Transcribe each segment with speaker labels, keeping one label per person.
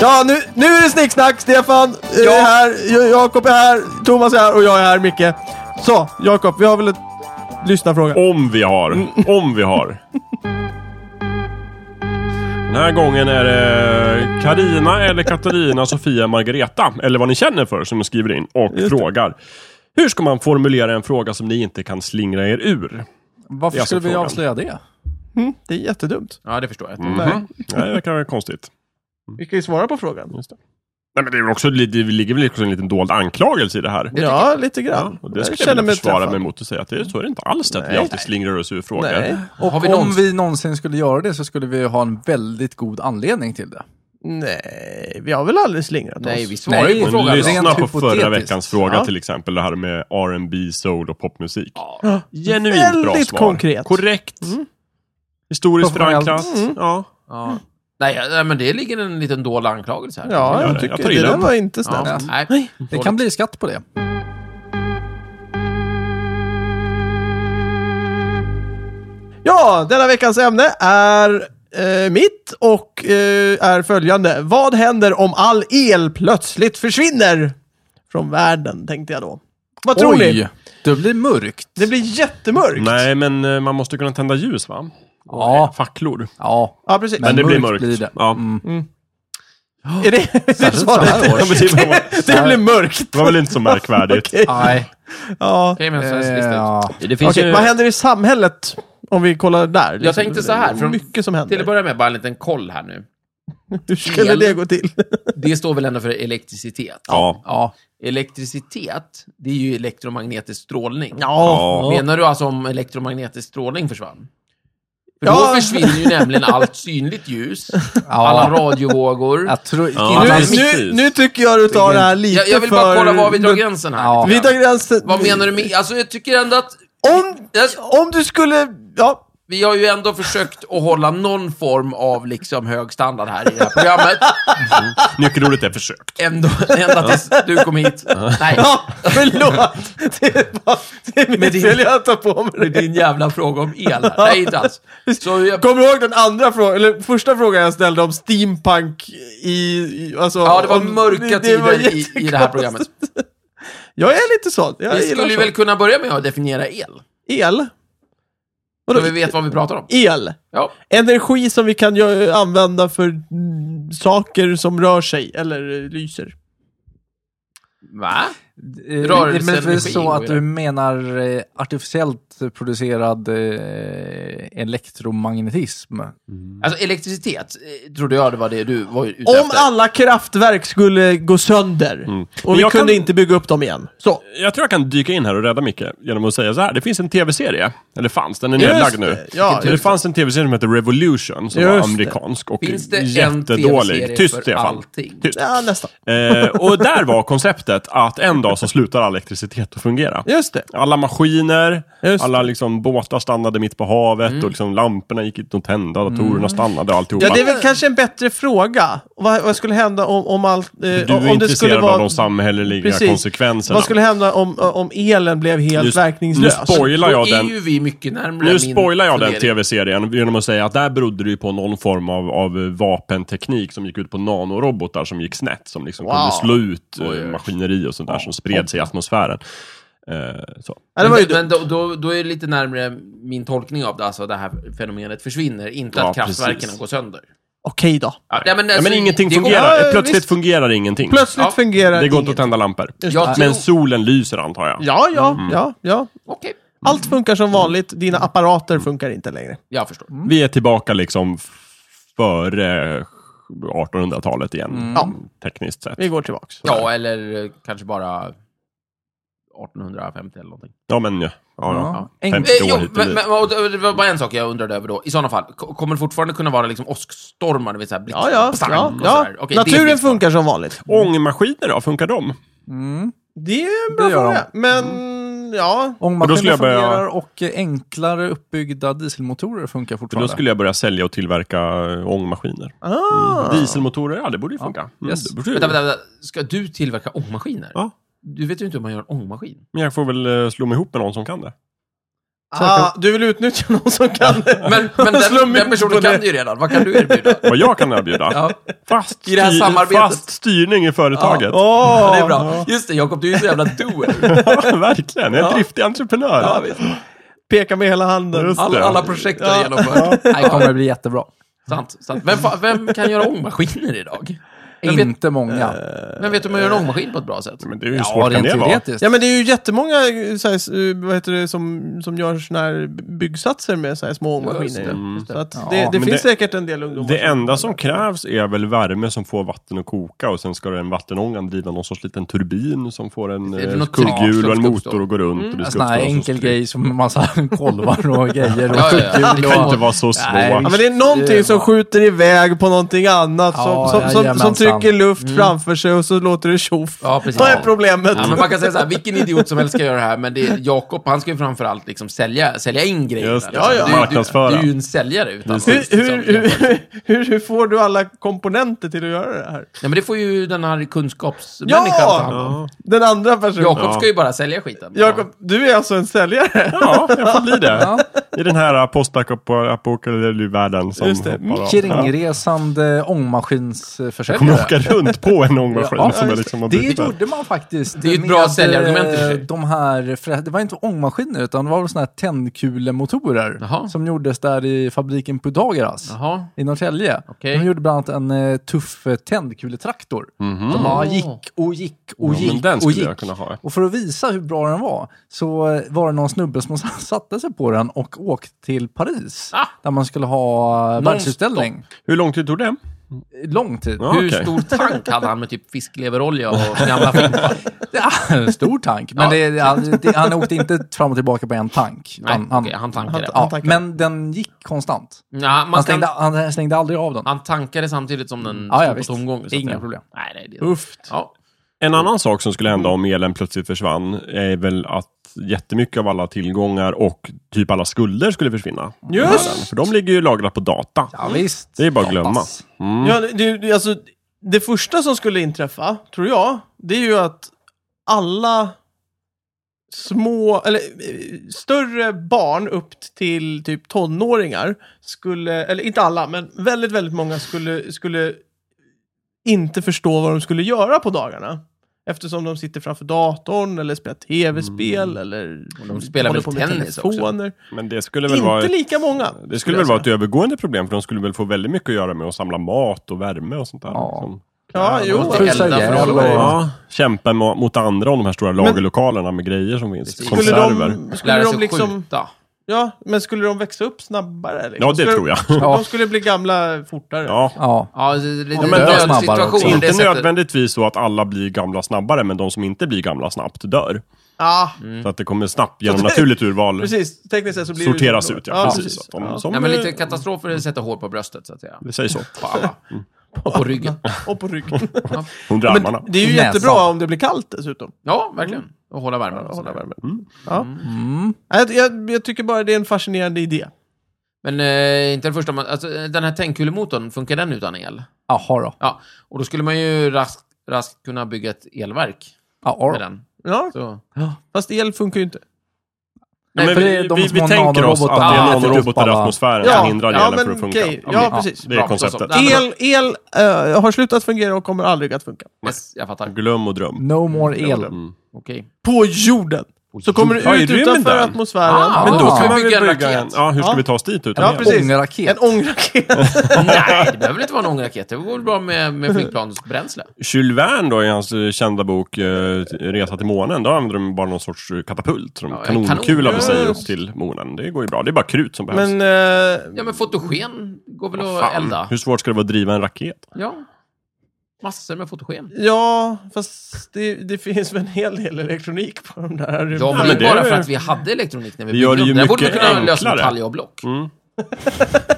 Speaker 1: Ja, nu, nu är det snicksnack. Stefan eh,
Speaker 2: Ja.
Speaker 1: är här, Jo- Jakob är här, Thomas är här och jag är här, Micke. Så, Jakob, vi har väl ett lyssnarfråga.
Speaker 2: Om vi har. Om vi har. Den här gången är det Karina eller Katarina, Sofia, Margareta, eller vad ni känner för, som skriver in och
Speaker 1: Just det.
Speaker 2: frågar. Hur ska man formulera en fråga som ni inte kan slingra er ur?
Speaker 3: Varför
Speaker 2: Jag ska
Speaker 3: skulle vi
Speaker 2: fråga.
Speaker 3: avslöja det?
Speaker 1: Mm.
Speaker 3: Mm.
Speaker 1: Det är jättedumt.
Speaker 3: Ja, det förstår jag. inte.
Speaker 2: Mhm. Nej, det verkar konstigt.
Speaker 1: Vi ska ju svara på frågan.
Speaker 2: Just det. Nej, men det, är väl också, li- det ligger väl också en liten dold anklagelse i det här.
Speaker 1: Ja, lite grann.
Speaker 2: Och det
Speaker 1: Jag
Speaker 2: skulle jag,
Speaker 1: känner
Speaker 2: vilja försvara
Speaker 1: träffad.
Speaker 2: mig mot och säga att det, så är det inte alls det att vi
Speaker 1: Nej.
Speaker 2: alltid slingrar oss ur frågor.
Speaker 1: Nej.
Speaker 3: Och
Speaker 4: Har vi
Speaker 3: om
Speaker 4: någonsin-
Speaker 3: vi någonsin skulle göra det så skulle vi ha en väldigt god anledning till det.
Speaker 1: Nej, vi har väl aldrig slingrat oss?
Speaker 4: Nej, vi svarar
Speaker 3: Nej,
Speaker 4: ju på
Speaker 3: men
Speaker 4: frågan.
Speaker 3: lyssna.
Speaker 4: Ja.
Speaker 2: Lyssna
Speaker 3: Rent
Speaker 2: på förra
Speaker 3: hypotetiskt.
Speaker 2: veckans fråga
Speaker 1: Ja.
Speaker 2: till exempel, det här med R&B, soul och popmusik.
Speaker 1: Ja.
Speaker 2: Genuint bra
Speaker 1: Väldigt
Speaker 2: svar.
Speaker 1: konkret. Mm.
Speaker 2: Korrekt. Historiskt
Speaker 3: Professionellt.
Speaker 2: förankrat. Ja.
Speaker 4: Ja. Nej, ja, nej, men det ligger en liten dold anklagelse här.
Speaker 1: Ja,
Speaker 2: gör
Speaker 1: jag
Speaker 2: det.
Speaker 1: tycker
Speaker 2: Jag tar i
Speaker 1: det där
Speaker 2: den.
Speaker 1: var inte snällt.
Speaker 4: ja. Nej.
Speaker 3: Det kan bli skatt på det.
Speaker 1: Ja, denna veckans ämne är eh, mitt och eh, är följande. Vad händer om all el plötsligt försvinner från världen, tänkte jag då. Vad tror ni?
Speaker 3: Oj, det blir mörkt.
Speaker 1: Det blir jättemörkt.
Speaker 2: Nej, men eh, man måste kunna tända ljus va? Eh,
Speaker 3: Ja,
Speaker 2: Facklor.
Speaker 3: ja.
Speaker 1: Ja, precis.
Speaker 2: Men det blir
Speaker 3: mörkt
Speaker 2: mörkt.
Speaker 3: blir det.
Speaker 2: Ja.
Speaker 1: Är det, är det
Speaker 3: Särskilt så
Speaker 1: svaret?
Speaker 3: här
Speaker 2: Ja, men
Speaker 3: års.
Speaker 2: Alltså, det, var,
Speaker 1: Det blir mörkt.
Speaker 2: det var väl inte så märkvärdigt.
Speaker 1: Okej.
Speaker 3: Nej.
Speaker 1: Ja.
Speaker 4: Okej, men så är det
Speaker 3: Eh,
Speaker 4: listigt.
Speaker 3: ja.
Speaker 4: Det finns
Speaker 1: Okej,
Speaker 4: ju...
Speaker 1: Vad händer i samhället? Om vi kollar där. liksom.
Speaker 4: tänkte så här,
Speaker 1: Det är
Speaker 4: från-
Speaker 1: mycket som
Speaker 4: Till att
Speaker 1: händer.
Speaker 4: börja med, bara en liten koll här nu.
Speaker 1: Hur skulle
Speaker 4: el.
Speaker 1: det gå till?
Speaker 4: Det står väl ändå för elektricitet?
Speaker 2: Ja.
Speaker 3: Ja.
Speaker 4: Elektricitet, det är ju elektromagnetisk strålning.
Speaker 2: Ja.
Speaker 4: Menar du alltså om elektromagnetisk strålning försvann? För
Speaker 1: Ja.
Speaker 4: då försvinner ju nämligen allt synligt ljus, alla radiovågor.
Speaker 3: Jag tror...
Speaker 2: Ja.
Speaker 3: Innan-
Speaker 1: Nu,
Speaker 2: precis.
Speaker 1: nu, nu tycker jag du tar det här lite
Speaker 4: Jag, jag vill bara
Speaker 1: för...
Speaker 4: kolla var vi drar gränsen här.
Speaker 3: Ja.
Speaker 1: Vi tar gränsen.
Speaker 4: Vad menar du med... Alltså jag tycker ändå att...
Speaker 1: Om,
Speaker 4: Jag,
Speaker 1: om du skulle... Ja,
Speaker 4: vi har ju ändå försökt att hålla någon form av liksom hög standard här i det här programmet.
Speaker 2: Nyckelordet är försökt.
Speaker 4: Ändå, ända tills du kom hit. Nej,
Speaker 1: ja förlåt. Det är, bara, det är
Speaker 4: Men
Speaker 1: mitt
Speaker 4: det-
Speaker 1: fel, jag tar på mig
Speaker 4: med
Speaker 1: det.
Speaker 4: din jävla fråga om el här. Nej, inte alls. Så jag,
Speaker 1: Kommer du ihåg den andra frågan, eller första frågan jag ställde om steampunk i... i- Alltså,
Speaker 4: ja, det var
Speaker 1: om,
Speaker 4: mörka
Speaker 1: det- det
Speaker 4: tider
Speaker 1: var
Speaker 4: i, i det här
Speaker 1: jättekonstigt.
Speaker 4: programmet.
Speaker 1: Jag är lite sån. Jag
Speaker 4: Vi
Speaker 1: gillar
Speaker 4: skulle ju väl
Speaker 1: sånt.
Speaker 4: kunna börja med att definiera el.
Speaker 1: El?
Speaker 4: Så
Speaker 1: Vadå?
Speaker 4: vi vet vad vi pratar om.
Speaker 1: El?
Speaker 4: Ja.
Speaker 1: Energi som vi kan gö- använda för mm, saker som rör sig eller eh, lyser.
Speaker 4: Va?
Speaker 3: Eh,
Speaker 4: Rörelse,
Speaker 3: men det är väl
Speaker 4: energi
Speaker 3: så
Speaker 4: och
Speaker 3: att
Speaker 4: det.
Speaker 3: du menar eh, artificiellt producerad eh, elektromagnetism?
Speaker 4: Alltså elektricitet, eh, trodde jag det var det Mm. du var ute
Speaker 1: Om
Speaker 4: efter.
Speaker 1: alla kraftverk skulle gå sönder och
Speaker 2: Men
Speaker 1: vi
Speaker 2: jag
Speaker 1: kunde
Speaker 2: kan-
Speaker 1: inte bygga upp dem igen. Så.
Speaker 2: Jag tror jag kan dyka in här och rädda Micke genom att säga så här. Det finns en tv-serie, eller fanns, den är
Speaker 1: Just
Speaker 2: nedlagd
Speaker 1: det,
Speaker 2: nu.
Speaker 1: ja,
Speaker 2: det
Speaker 1: just
Speaker 2: fanns en tv-serie som hette Revolution som var
Speaker 1: Just det.
Speaker 2: amerikansk och
Speaker 4: Finns det en
Speaker 2: jättedålig.
Speaker 4: tv-serie
Speaker 2: Tyst
Speaker 4: för
Speaker 2: Stefan.
Speaker 4: allting?
Speaker 2: Tyst.
Speaker 1: Ja, nästan.
Speaker 2: Eh, och där var konceptet att en dag så slutar all elektricitet att fungera.
Speaker 1: Just det.
Speaker 2: Alla maskiner,
Speaker 1: Just Mm.
Speaker 2: alla liksom båtar stannade mitt på havet och liksom lamporna gick inte att tända, datorerna stannade och alltihopa.
Speaker 1: Ja, det är väl kanske en bättre fråga. Vad, vad skulle hända om, om allt... eh,
Speaker 2: Du är
Speaker 1: om det skulle
Speaker 2: intresserad
Speaker 1: vara,
Speaker 2: av de samhälleliga
Speaker 1: Precis.
Speaker 2: konsekvenserna.
Speaker 1: Vad skulle hända om, om elen blev helt
Speaker 2: Just- nu
Speaker 1: verkningslös?
Speaker 2: spoilar
Speaker 4: Då
Speaker 2: jag
Speaker 4: är
Speaker 2: den.
Speaker 4: ju vi mycket närmare
Speaker 2: Nu
Speaker 4: min
Speaker 2: spoilar jag den
Speaker 4: fundering.
Speaker 2: tv-serien genom att säga att där berodde det ju på någon form av, av vapenteknik som gick ut på nanorobotar som gick snett. Som liksom
Speaker 1: Wow.
Speaker 2: kunde slå ut eh,
Speaker 4: Oj, oj.
Speaker 2: maskineri och sånt där som spred sig i atmosfären. Eh, så.
Speaker 1: ja, det var ju
Speaker 4: men
Speaker 1: dumt.
Speaker 4: då, då, då är det lite närmare min tolkning av det, alltså det här fenomenet försvinner, inte
Speaker 2: Ja,
Speaker 4: att kraftverken
Speaker 2: precis.
Speaker 4: går sönder.
Speaker 1: Okej då.
Speaker 4: Ja, nej, men,
Speaker 2: ja,
Speaker 4: alltså,
Speaker 2: men ingenting
Speaker 4: det går-
Speaker 2: fungerar.
Speaker 1: Ja,
Speaker 2: Plötsligt
Speaker 1: visst.
Speaker 2: fungerar ingenting.
Speaker 1: Plötsligt
Speaker 4: Ja,
Speaker 1: fungerar
Speaker 2: det går inte att
Speaker 1: inget.
Speaker 2: tända lampor.
Speaker 4: Jag tror...
Speaker 2: Men solen lyser antar jag.
Speaker 1: Ja, ja,
Speaker 2: Mm.
Speaker 1: ja, ja.
Speaker 4: Okej,
Speaker 1: Allt funkar som vanligt. Dina apparater funkar inte längre.
Speaker 4: jag förstår.
Speaker 2: Vi är tillbaka liksom f- före 1800-talet igen.
Speaker 4: Mm.
Speaker 1: Ja.
Speaker 2: Tekniskt sett.
Speaker 1: Vi går tillbaks.
Speaker 4: Ja, eller eh, kanske bara 1850 eller någonting.
Speaker 2: Ja, men ja. ja, ja.
Speaker 3: Ja. En,
Speaker 2: Fem-
Speaker 4: Eh,
Speaker 2: Då
Speaker 4: jo,
Speaker 2: hit och
Speaker 4: men,
Speaker 2: dit.
Speaker 4: men, och det det var bara en sak jag undrade över då. I sådana fall, ko- kommer det fortfarande kunna vara liksom åskstormar? Du vet, så här, blixt,
Speaker 1: Ja, ja,
Speaker 4: pang
Speaker 1: ja,
Speaker 4: och
Speaker 1: ja.
Speaker 4: sådär. Okej, det
Speaker 1: Naturen
Speaker 4: finns liksom- kvar.
Speaker 1: funkar som vanligt.
Speaker 2: Ångmaskiner då, funkar de?
Speaker 3: mm.
Speaker 1: Det är en bra
Speaker 3: Det gör
Speaker 1: fråga. Men,
Speaker 4: Mm.
Speaker 1: ja.
Speaker 2: Och då skulle
Speaker 3: Ångmaskiner
Speaker 2: jag börja-
Speaker 3: fungerar och eh, enklare uppbyggda dieselmotorer funkar
Speaker 2: För då
Speaker 3: fortfarande.
Speaker 2: skulle jag börja sälja och tillverka eh, ångmaskiner.
Speaker 1: Ah.
Speaker 2: Dieselmotorer, ja det borde ju funka. Mm,
Speaker 3: yes.
Speaker 2: det borde ju.
Speaker 4: Vänta, vänta, vänta. Ska du tillverka ångmaskiner?
Speaker 2: Ja.
Speaker 4: Du vet ju inte hur man gör en ångmaskin.
Speaker 2: Men jag får väl eh, slå mig ihop med någon som kan det.
Speaker 1: Ah, du vill utnyttja någon som kan...
Speaker 4: Men, men den,
Speaker 1: Slummen
Speaker 4: den personen
Speaker 1: på det.
Speaker 4: kan du ju redan. Vad kan du erbjuda?
Speaker 2: Vad jag kan erbjuda?
Speaker 4: Ja.
Speaker 2: Fast,
Speaker 4: I det här
Speaker 2: styr-
Speaker 4: samarbetet.
Speaker 2: fast styrning i företaget. Ja,
Speaker 1: Åh!
Speaker 4: Ja, det är bra. Just det, Jakob, du är ju så jävla doer.
Speaker 2: Verkligen. Jag är en driftig entreprenör.
Speaker 4: Ja, visst.
Speaker 1: Peka med hela handen.
Speaker 2: Just
Speaker 4: Alla,
Speaker 2: det.
Speaker 4: alla projekt du har genomfört. Nej,
Speaker 3: Det
Speaker 4: kom.
Speaker 3: kommer att bli jättebra.
Speaker 4: Sant, sant. Vem, fa- vem kan göra ångmaskiner idag? Vem vet,
Speaker 3: Inte många.
Speaker 4: vem vet hur man gör en ångmaskin på ett bra sätt?
Speaker 2: Eh, Men det är ju hur svårt kan
Speaker 3: rent
Speaker 2: det vara?
Speaker 3: teoretiskt.
Speaker 1: Eh, Ja men det är ju jättemånga eh, så här, s- eh, vad heter det, som, som gör såna här byggsatser med så här små
Speaker 4: Just det, Mm.
Speaker 1: maskiner.
Speaker 4: just det.
Speaker 1: Så att det, det
Speaker 2: men
Speaker 1: finns
Speaker 2: det-
Speaker 1: säkert en del ungdomar
Speaker 2: Det
Speaker 1: som-
Speaker 2: enda som krävs är väl värme som får vatten att koka och sen ska den vattenångan driva någon sorts liten turbin som får en
Speaker 4: Det är
Speaker 2: eh,
Speaker 4: något tak
Speaker 2: kugghjul
Speaker 4: som
Speaker 2: och en
Speaker 4: ska uppstå.
Speaker 2: motor att gå runt. Och det ska
Speaker 3: Mm, Sån här
Speaker 2: uppstå någon sorts
Speaker 3: enkel
Speaker 2: tryck.
Speaker 3: grej som en massa kolvar och grejer. Och
Speaker 4: Ja, ja, ja.
Speaker 3: kugghjul
Speaker 2: Det kan
Speaker 3: och-
Speaker 2: inte vara så
Speaker 3: Nej,
Speaker 1: Ja,
Speaker 2: svårt.
Speaker 1: men det är någonting som
Speaker 3: Ja.
Speaker 1: skjuter iväg på någonting annat
Speaker 3: Ja,
Speaker 1: som, som, som, som
Speaker 3: jajamensan.
Speaker 1: trycker luft framför sig och så låter det tjoff.
Speaker 4: Mm. Ja, precis.
Speaker 1: Vad är problemet?
Speaker 4: Ja, men man kan säga så här, vilken idiot som helst ska göra det här, men det är Jakob, han ska ju framförallt liksom sälja, sälja in grejer.
Speaker 2: Just det.
Speaker 4: Liksom.
Speaker 1: Ja, ja.
Speaker 4: Du- du-
Speaker 2: Marknadsföra.
Speaker 4: Du är ju en säljare utan
Speaker 1: hur, hur,
Speaker 4: liksom.
Speaker 1: hur, hur, hur får du alla komponenter till att göra det här?
Speaker 4: Ja, men det får ju den här kunskapsmänniskan ta hand om.
Speaker 1: Ja! Den andra personen.
Speaker 4: Jakob
Speaker 2: Ja.
Speaker 4: ska ju bara sälja skiten.
Speaker 1: Jakob, du är alltså en säljare?
Speaker 2: Ja, jag får bli det. I den här eh, postapokalypsvärlden som
Speaker 1: Just det.
Speaker 2: hoppar av. Ja.
Speaker 3: Kringresande
Speaker 2: Kommer
Speaker 3: ångmaskinsförsäljare.
Speaker 2: att åka runt på en ångmaskin
Speaker 3: Ja,
Speaker 2: som jag
Speaker 3: just
Speaker 2: liksom har
Speaker 3: det
Speaker 2: byggt där.
Speaker 3: gjorde man faktiskt.
Speaker 4: Det är ju ett bra
Speaker 3: med,
Speaker 4: säljargument i och för sig.
Speaker 3: eh, De här, för det var inte ångmaskiner utan det var väl såna här tändkulemotorer
Speaker 4: Jaha.
Speaker 3: som gjordes där i fabriken Pythagoras
Speaker 4: Jaha.
Speaker 3: i Norrtälje.
Speaker 4: Okej.
Speaker 3: De gjorde bland annat en eh, tuff eh, tändkuletraktor. Som bara gick och gick och
Speaker 2: Mhm. Ja,
Speaker 3: gick
Speaker 2: men den
Speaker 3: och
Speaker 2: skulle
Speaker 3: gick.
Speaker 2: jag kunna ha.
Speaker 3: Och för att visa hur bra den var så eh, var det någon snubbe som satte sig på den och åkte till Paris
Speaker 4: Ah.
Speaker 3: där man skulle ha eh, världsutställning.
Speaker 2: Hur lång tid tog det?
Speaker 3: Lång tid.
Speaker 2: Ja.
Speaker 4: Hur
Speaker 2: okej.
Speaker 4: stor tank hade han med typ fiskleverolja och gamla fimpar?
Speaker 3: Ja, en stor tank. Men det, han- det, han åkte inte fram och tillbaka på en tank.
Speaker 4: Nej,
Speaker 3: Han, han,
Speaker 4: okej, han tankade.
Speaker 1: han
Speaker 3: ja,
Speaker 1: tankade.
Speaker 3: men den gick konstant.
Speaker 4: Ja, man
Speaker 3: Han
Speaker 4: kan,
Speaker 3: stängde, han stängde aldrig av den.
Speaker 4: han tankade samtidigt som den
Speaker 3: Ja, ja,
Speaker 4: stod på
Speaker 3: visst.
Speaker 4: tomgång. så att
Speaker 3: Inga
Speaker 4: säga.
Speaker 3: problem.
Speaker 4: Nej, nej, det är...
Speaker 1: Uff.
Speaker 4: Ja.
Speaker 2: En annan sak som skulle hända om elen plötsligt försvann är väl att jättemycket av alla tillgångar och typ alla skulder skulle försvinna.
Speaker 1: Just!
Speaker 2: För de ligger ju lagrat på data.
Speaker 3: Ja, visst.
Speaker 2: Det är bara att glömma. Mm.
Speaker 3: Hoppas.
Speaker 4: Mm.
Speaker 1: Ja, det, det, alltså, det första som skulle inträffa, tror jag, det är ju att alla små, eller eh, större barn upp till typ tonåringar skulle, eller inte alla, men väldigt, väldigt många skulle, skulle inte förstå vad de skulle göra på dagarna. Eftersom de sitter framför datorn eller spelar tv-spel eller
Speaker 4: Mm. Och de spelar
Speaker 1: håller
Speaker 4: väl
Speaker 1: på med
Speaker 4: tennis också?
Speaker 1: telefoner.
Speaker 2: Men det skulle väl vara...
Speaker 1: Inte lika många.
Speaker 2: Det skulle
Speaker 1: skulle
Speaker 2: väl
Speaker 1: jag
Speaker 2: vara ett
Speaker 1: säga.
Speaker 2: övergående problem, för de skulle väl få väldigt mycket att göra med att samla mat och värme och sånt där.
Speaker 3: Ja.
Speaker 2: liksom.
Speaker 1: Ja, jo.
Speaker 4: måste elda
Speaker 3: Frysa
Speaker 4: för att
Speaker 3: ihjäl
Speaker 4: hålla
Speaker 3: och-
Speaker 2: Ja, kämpa mo- mot andra om de här stora lagerlokalerna med grejer som finns.
Speaker 4: Precis.
Speaker 1: Skulle
Speaker 2: Konserver.
Speaker 1: de, skulle
Speaker 4: Lära sig
Speaker 1: de liksom...
Speaker 4: skjuta.
Speaker 1: Ja, men skulle de växa upp snabbare? Liksom?
Speaker 2: Ja, det
Speaker 1: skulle,
Speaker 2: tror jag.
Speaker 1: De skulle bli gamla fortare.
Speaker 2: Ja.
Speaker 3: Ja.
Speaker 4: Ja, det, det, ja,
Speaker 3: men
Speaker 4: det
Speaker 3: dö
Speaker 4: är en
Speaker 3: snabbare också.
Speaker 4: nödsituation.
Speaker 2: Inte
Speaker 4: Det sättet.
Speaker 2: nödvändigtvis så att alla blir gamla snabbare, men de som inte blir gamla snabbt dör.
Speaker 1: Ah,
Speaker 4: Mm.
Speaker 2: Så att det kommer snabbt genom
Speaker 1: Så det-
Speaker 2: naturligt urval
Speaker 1: precis. Tekniskt sett så blir
Speaker 2: sorteras
Speaker 1: det
Speaker 2: ut. Ja, precis. Så att de,
Speaker 1: Ja.
Speaker 2: som,
Speaker 4: Ja, men
Speaker 2: eh,
Speaker 4: lite katastrofer sätter hår på bröstet, så att säga.
Speaker 2: Det sägs så.
Speaker 4: På alla. Och på ryggen.
Speaker 1: Och på ryggen.
Speaker 2: Under armarna.
Speaker 1: men det är ju
Speaker 3: Näsan.
Speaker 1: jättebra om det blir kallt dessutom.
Speaker 4: Ja, verkligen. Och hålla värmen. och
Speaker 1: Hålla
Speaker 4: sådär.
Speaker 1: värmen.
Speaker 2: Mm.
Speaker 1: Ja.
Speaker 4: Mm.
Speaker 3: Mm.
Speaker 1: Nej, Jag, jag, jag tycker bara det är en fascinerande idé.
Speaker 4: Men eh, inte den första. Man, alltså, eh, den här tändkulemotorn, funkar den utan el?
Speaker 3: Jaha då.
Speaker 4: Ja, och då skulle man ju raskt, raskt kunna bygga ett elverk
Speaker 3: Jaha
Speaker 4: med
Speaker 3: då.
Speaker 4: den.
Speaker 1: Ja,
Speaker 4: Så.
Speaker 1: fast el funkar ju inte.
Speaker 2: Nej,
Speaker 3: för det är de
Speaker 2: vi, vi
Speaker 3: små
Speaker 2: tänker oss att det
Speaker 3: nanorobotarna.
Speaker 2: är
Speaker 3: Ah,
Speaker 2: nanorobotar i
Speaker 3: alla-
Speaker 2: atmosfären
Speaker 1: Ja,
Speaker 2: som hindrar
Speaker 1: ja,
Speaker 2: elen
Speaker 1: men
Speaker 2: från att funka.
Speaker 1: okej.
Speaker 2: men
Speaker 1: Ja,
Speaker 2: det-
Speaker 1: precis.
Speaker 2: Det
Speaker 4: Bra,
Speaker 2: är
Speaker 4: så-
Speaker 2: konceptet.
Speaker 4: så- Ja, men-
Speaker 1: El, el eh, har slutat fungera och kommer aldrig att funka.
Speaker 4: Yes, jag fattar.
Speaker 2: Glöm och dröm. Mm.
Speaker 3: No more el.
Speaker 4: Okej.
Speaker 1: På jorden! Så kommer
Speaker 2: Ja, i
Speaker 1: det ut
Speaker 2: rymden.
Speaker 1: utanför atmosfären.
Speaker 4: Ah,
Speaker 2: Men då
Speaker 3: Ah.
Speaker 2: kan man
Speaker 4: Bygga
Speaker 2: väl
Speaker 4: en
Speaker 2: bygga en...
Speaker 4: raket.
Speaker 2: Ja, hur ska
Speaker 1: Ja.
Speaker 2: vi ta oss dit utan
Speaker 1: Ja,
Speaker 2: el?
Speaker 1: precis.
Speaker 3: Ångraket.
Speaker 1: En ångraket.
Speaker 4: Nej, det behöver väl inte vara en ångraket. Det går bra med, med flygplansbränsle.
Speaker 2: Jules Verne då i hans eh, kända bok eh, Resa till månen, då använder de bara någon sorts eh, katapult. Som
Speaker 4: Ja, en
Speaker 2: kanonkula
Speaker 4: kanon.
Speaker 2: med sig upp
Speaker 1: Just.
Speaker 2: till månen. Det går ju bra. Det är bara krut som behövs.
Speaker 1: Men, eh,
Speaker 4: Ja, men fotogen går väl att
Speaker 2: Fan,
Speaker 4: elda?
Speaker 2: Hur svårt ska det vara att driva en raket?
Speaker 4: Ja. Massor med fotogen.
Speaker 1: Ja, fast det, det finns väl en hel del elektronik på de där
Speaker 4: Ja,
Speaker 2: men
Speaker 4: men, det är
Speaker 2: det-
Speaker 4: bara för att vi hade elektronik när vi
Speaker 2: Det gör
Speaker 4: byggde
Speaker 2: det ju
Speaker 4: upp. Där borde vi
Speaker 2: mycket
Speaker 4: kunna lösa
Speaker 2: enklare. Mm.
Speaker 4: detaljer och block.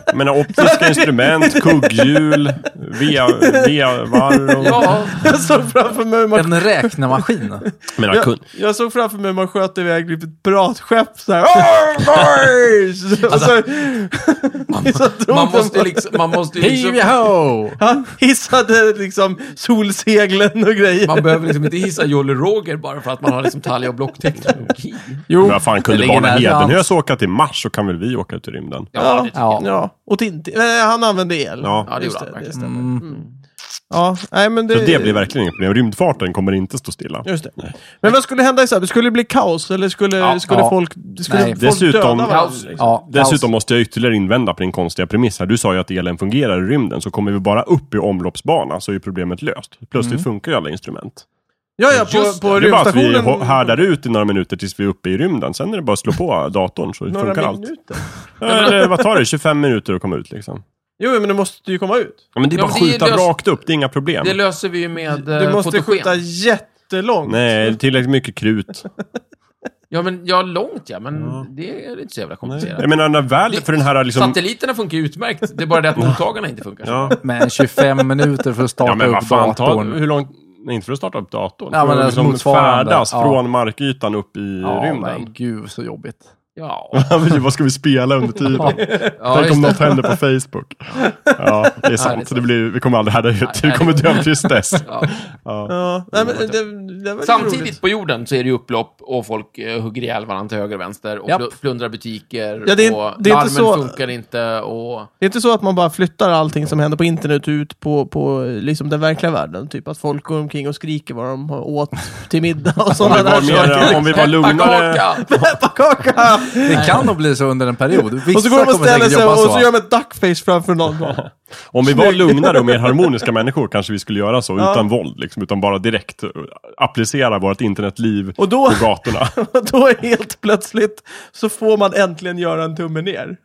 Speaker 2: Jag menar optiska instrument, kugghjul, vevar och...
Speaker 4: Ja,
Speaker 1: Jag såg framför mig hur man,
Speaker 3: En räknemaskin.
Speaker 2: Jag menar,
Speaker 1: jag,
Speaker 2: kun...
Speaker 1: jag såg framför mig hur man sköt iväg typ ett piratskepp så här. "Åh, boys!" Och så, så drog
Speaker 4: Alltså, man måste
Speaker 1: de-
Speaker 4: liksom... Man måste
Speaker 3: Hej
Speaker 4: liksom
Speaker 3: ho!
Speaker 1: Han hissade liksom solseglen och grejer.
Speaker 4: man behöver liksom inte hissa Jolly Roger bara för att man har liksom talja och blockteknologi.
Speaker 1: jo,
Speaker 2: Vad fan, kunde
Speaker 3: Det ligger
Speaker 2: Barne
Speaker 3: nära
Speaker 2: Hedenhös åka till Mars så kan väl vi åka ut i rymden?
Speaker 4: Ja, det tycker jag.
Speaker 1: ja. Och Tintin. Nej, han använde el.
Speaker 2: Ja.
Speaker 4: Ja, det
Speaker 1: Just
Speaker 4: gjorde han
Speaker 1: just det. Mm. Ja, nej men det...
Speaker 2: Så det blir verkligen inget problem. Rymdfarten kommer inte stå stilla.
Speaker 1: Just det. Men vad skulle hända i Säby? Skulle det bli kaos? Eller skulle,
Speaker 4: Ja,
Speaker 1: skulle
Speaker 3: ja.
Speaker 1: folk, skulle
Speaker 3: Nej.
Speaker 1: folk
Speaker 2: Dessutom-
Speaker 1: döda varandra? liksom.
Speaker 4: Kaos.
Speaker 3: Ja,
Speaker 2: Dessutom
Speaker 3: kaos.
Speaker 2: måste jag ytterligare invända på din konstiga premiss här. Du sa ju att elen fungerar i rymden, så kommer vi bara upp i omloppsbana så är ju problemet löst. Plötsligt
Speaker 1: Mm.
Speaker 2: funkar ju alla instrument.
Speaker 1: Ja, ja, på,
Speaker 4: Just
Speaker 1: på
Speaker 2: det är bara att vi
Speaker 1: rymdstationen.
Speaker 2: hå- härdar ut i några minuter tills vi är uppe i rymden. Sen är det bara att slå på datorn så funkar
Speaker 1: Några
Speaker 2: allt.
Speaker 1: minuter.
Speaker 2: Ja, Eller vad tar det? 25 minuter att komma ut liksom.
Speaker 1: Jo, men du måste ju komma ut.
Speaker 2: Ja, men det är
Speaker 4: Ja,
Speaker 2: bara att
Speaker 4: men det är
Speaker 2: skjuta
Speaker 4: löst.
Speaker 2: rakt upp, det är inga problem.
Speaker 4: Det löser vi ju med eh,
Speaker 1: Du måste
Speaker 4: fotogen.
Speaker 1: skjuta jättelångt.
Speaker 2: Nej, tillräckligt mycket krut.
Speaker 4: Ja, men ja, långt ja, men det är inte så jävla komplicerat.
Speaker 2: Jag menar, när väl för den här liksom...
Speaker 4: Satelliterna funkar ju utmärkt, det är bara det att mottagarna inte funkar.
Speaker 2: Ja,
Speaker 3: Men 25 minuter för att starta
Speaker 2: ja men vad
Speaker 3: upp
Speaker 2: fan, ta,
Speaker 3: datorn.
Speaker 2: hur långt... Nej, inte för att starta upp datorn.
Speaker 3: Ja,
Speaker 2: för
Speaker 3: men
Speaker 2: att liksom
Speaker 3: alltså motsvarande.
Speaker 2: färdas
Speaker 3: Ja.
Speaker 2: från markytan upp i
Speaker 3: ja,
Speaker 2: rymden.
Speaker 3: men gud så jobbigt.
Speaker 4: Ja,
Speaker 2: Ja, men vad ska vi spela under tiden?
Speaker 4: ja
Speaker 2: Tänk om
Speaker 4: just det.
Speaker 2: något händer på Facebook. Ja, det är sant.
Speaker 4: sant.
Speaker 2: Så det blir, vi kommer aldrig härda ut. Vi
Speaker 4: nej.
Speaker 2: kommer dö tills dess.
Speaker 4: Ja.
Speaker 1: Ja, nej, men det, det var ju roligt.
Speaker 4: Samtidigt på jorden så är det ju upplopp och folk eh, hugger ihjäl varandra till höger och vänster och
Speaker 3: Japp.
Speaker 4: pl- plundrar butiker
Speaker 1: Ja, det är-
Speaker 4: och
Speaker 1: det är
Speaker 4: larmen
Speaker 1: inte så-
Speaker 4: funkar inte och...
Speaker 1: Det är inte så att man bara flyttar allting som händer på internet ut på, på liksom den verkliga världen. Typ att folk går omkring och skriker vad de har åt till middag och
Speaker 2: Om vi
Speaker 1: sådana där
Speaker 2: var,
Speaker 1: saker.
Speaker 2: mer, om vi var lugnare.
Speaker 4: Pepparkaka!
Speaker 1: Pepparkaka!
Speaker 3: Det kan nog bli så under en period. Vissa
Speaker 1: Och så går de och
Speaker 3: kommer säkert
Speaker 1: ställer sig
Speaker 3: jobba
Speaker 1: och så gör de ett duckface framför någon. Bara,
Speaker 2: Om vi var lugnare och mer harmoniska människor kanske vi skulle göra så.
Speaker 1: Ja.
Speaker 2: Utan våld. Liksom, utan bara direkt eh, applicera vårt internetliv
Speaker 1: Och då-
Speaker 2: på gatorna.
Speaker 1: då är helt plötsligt så får man äntligen göra en tumme ner.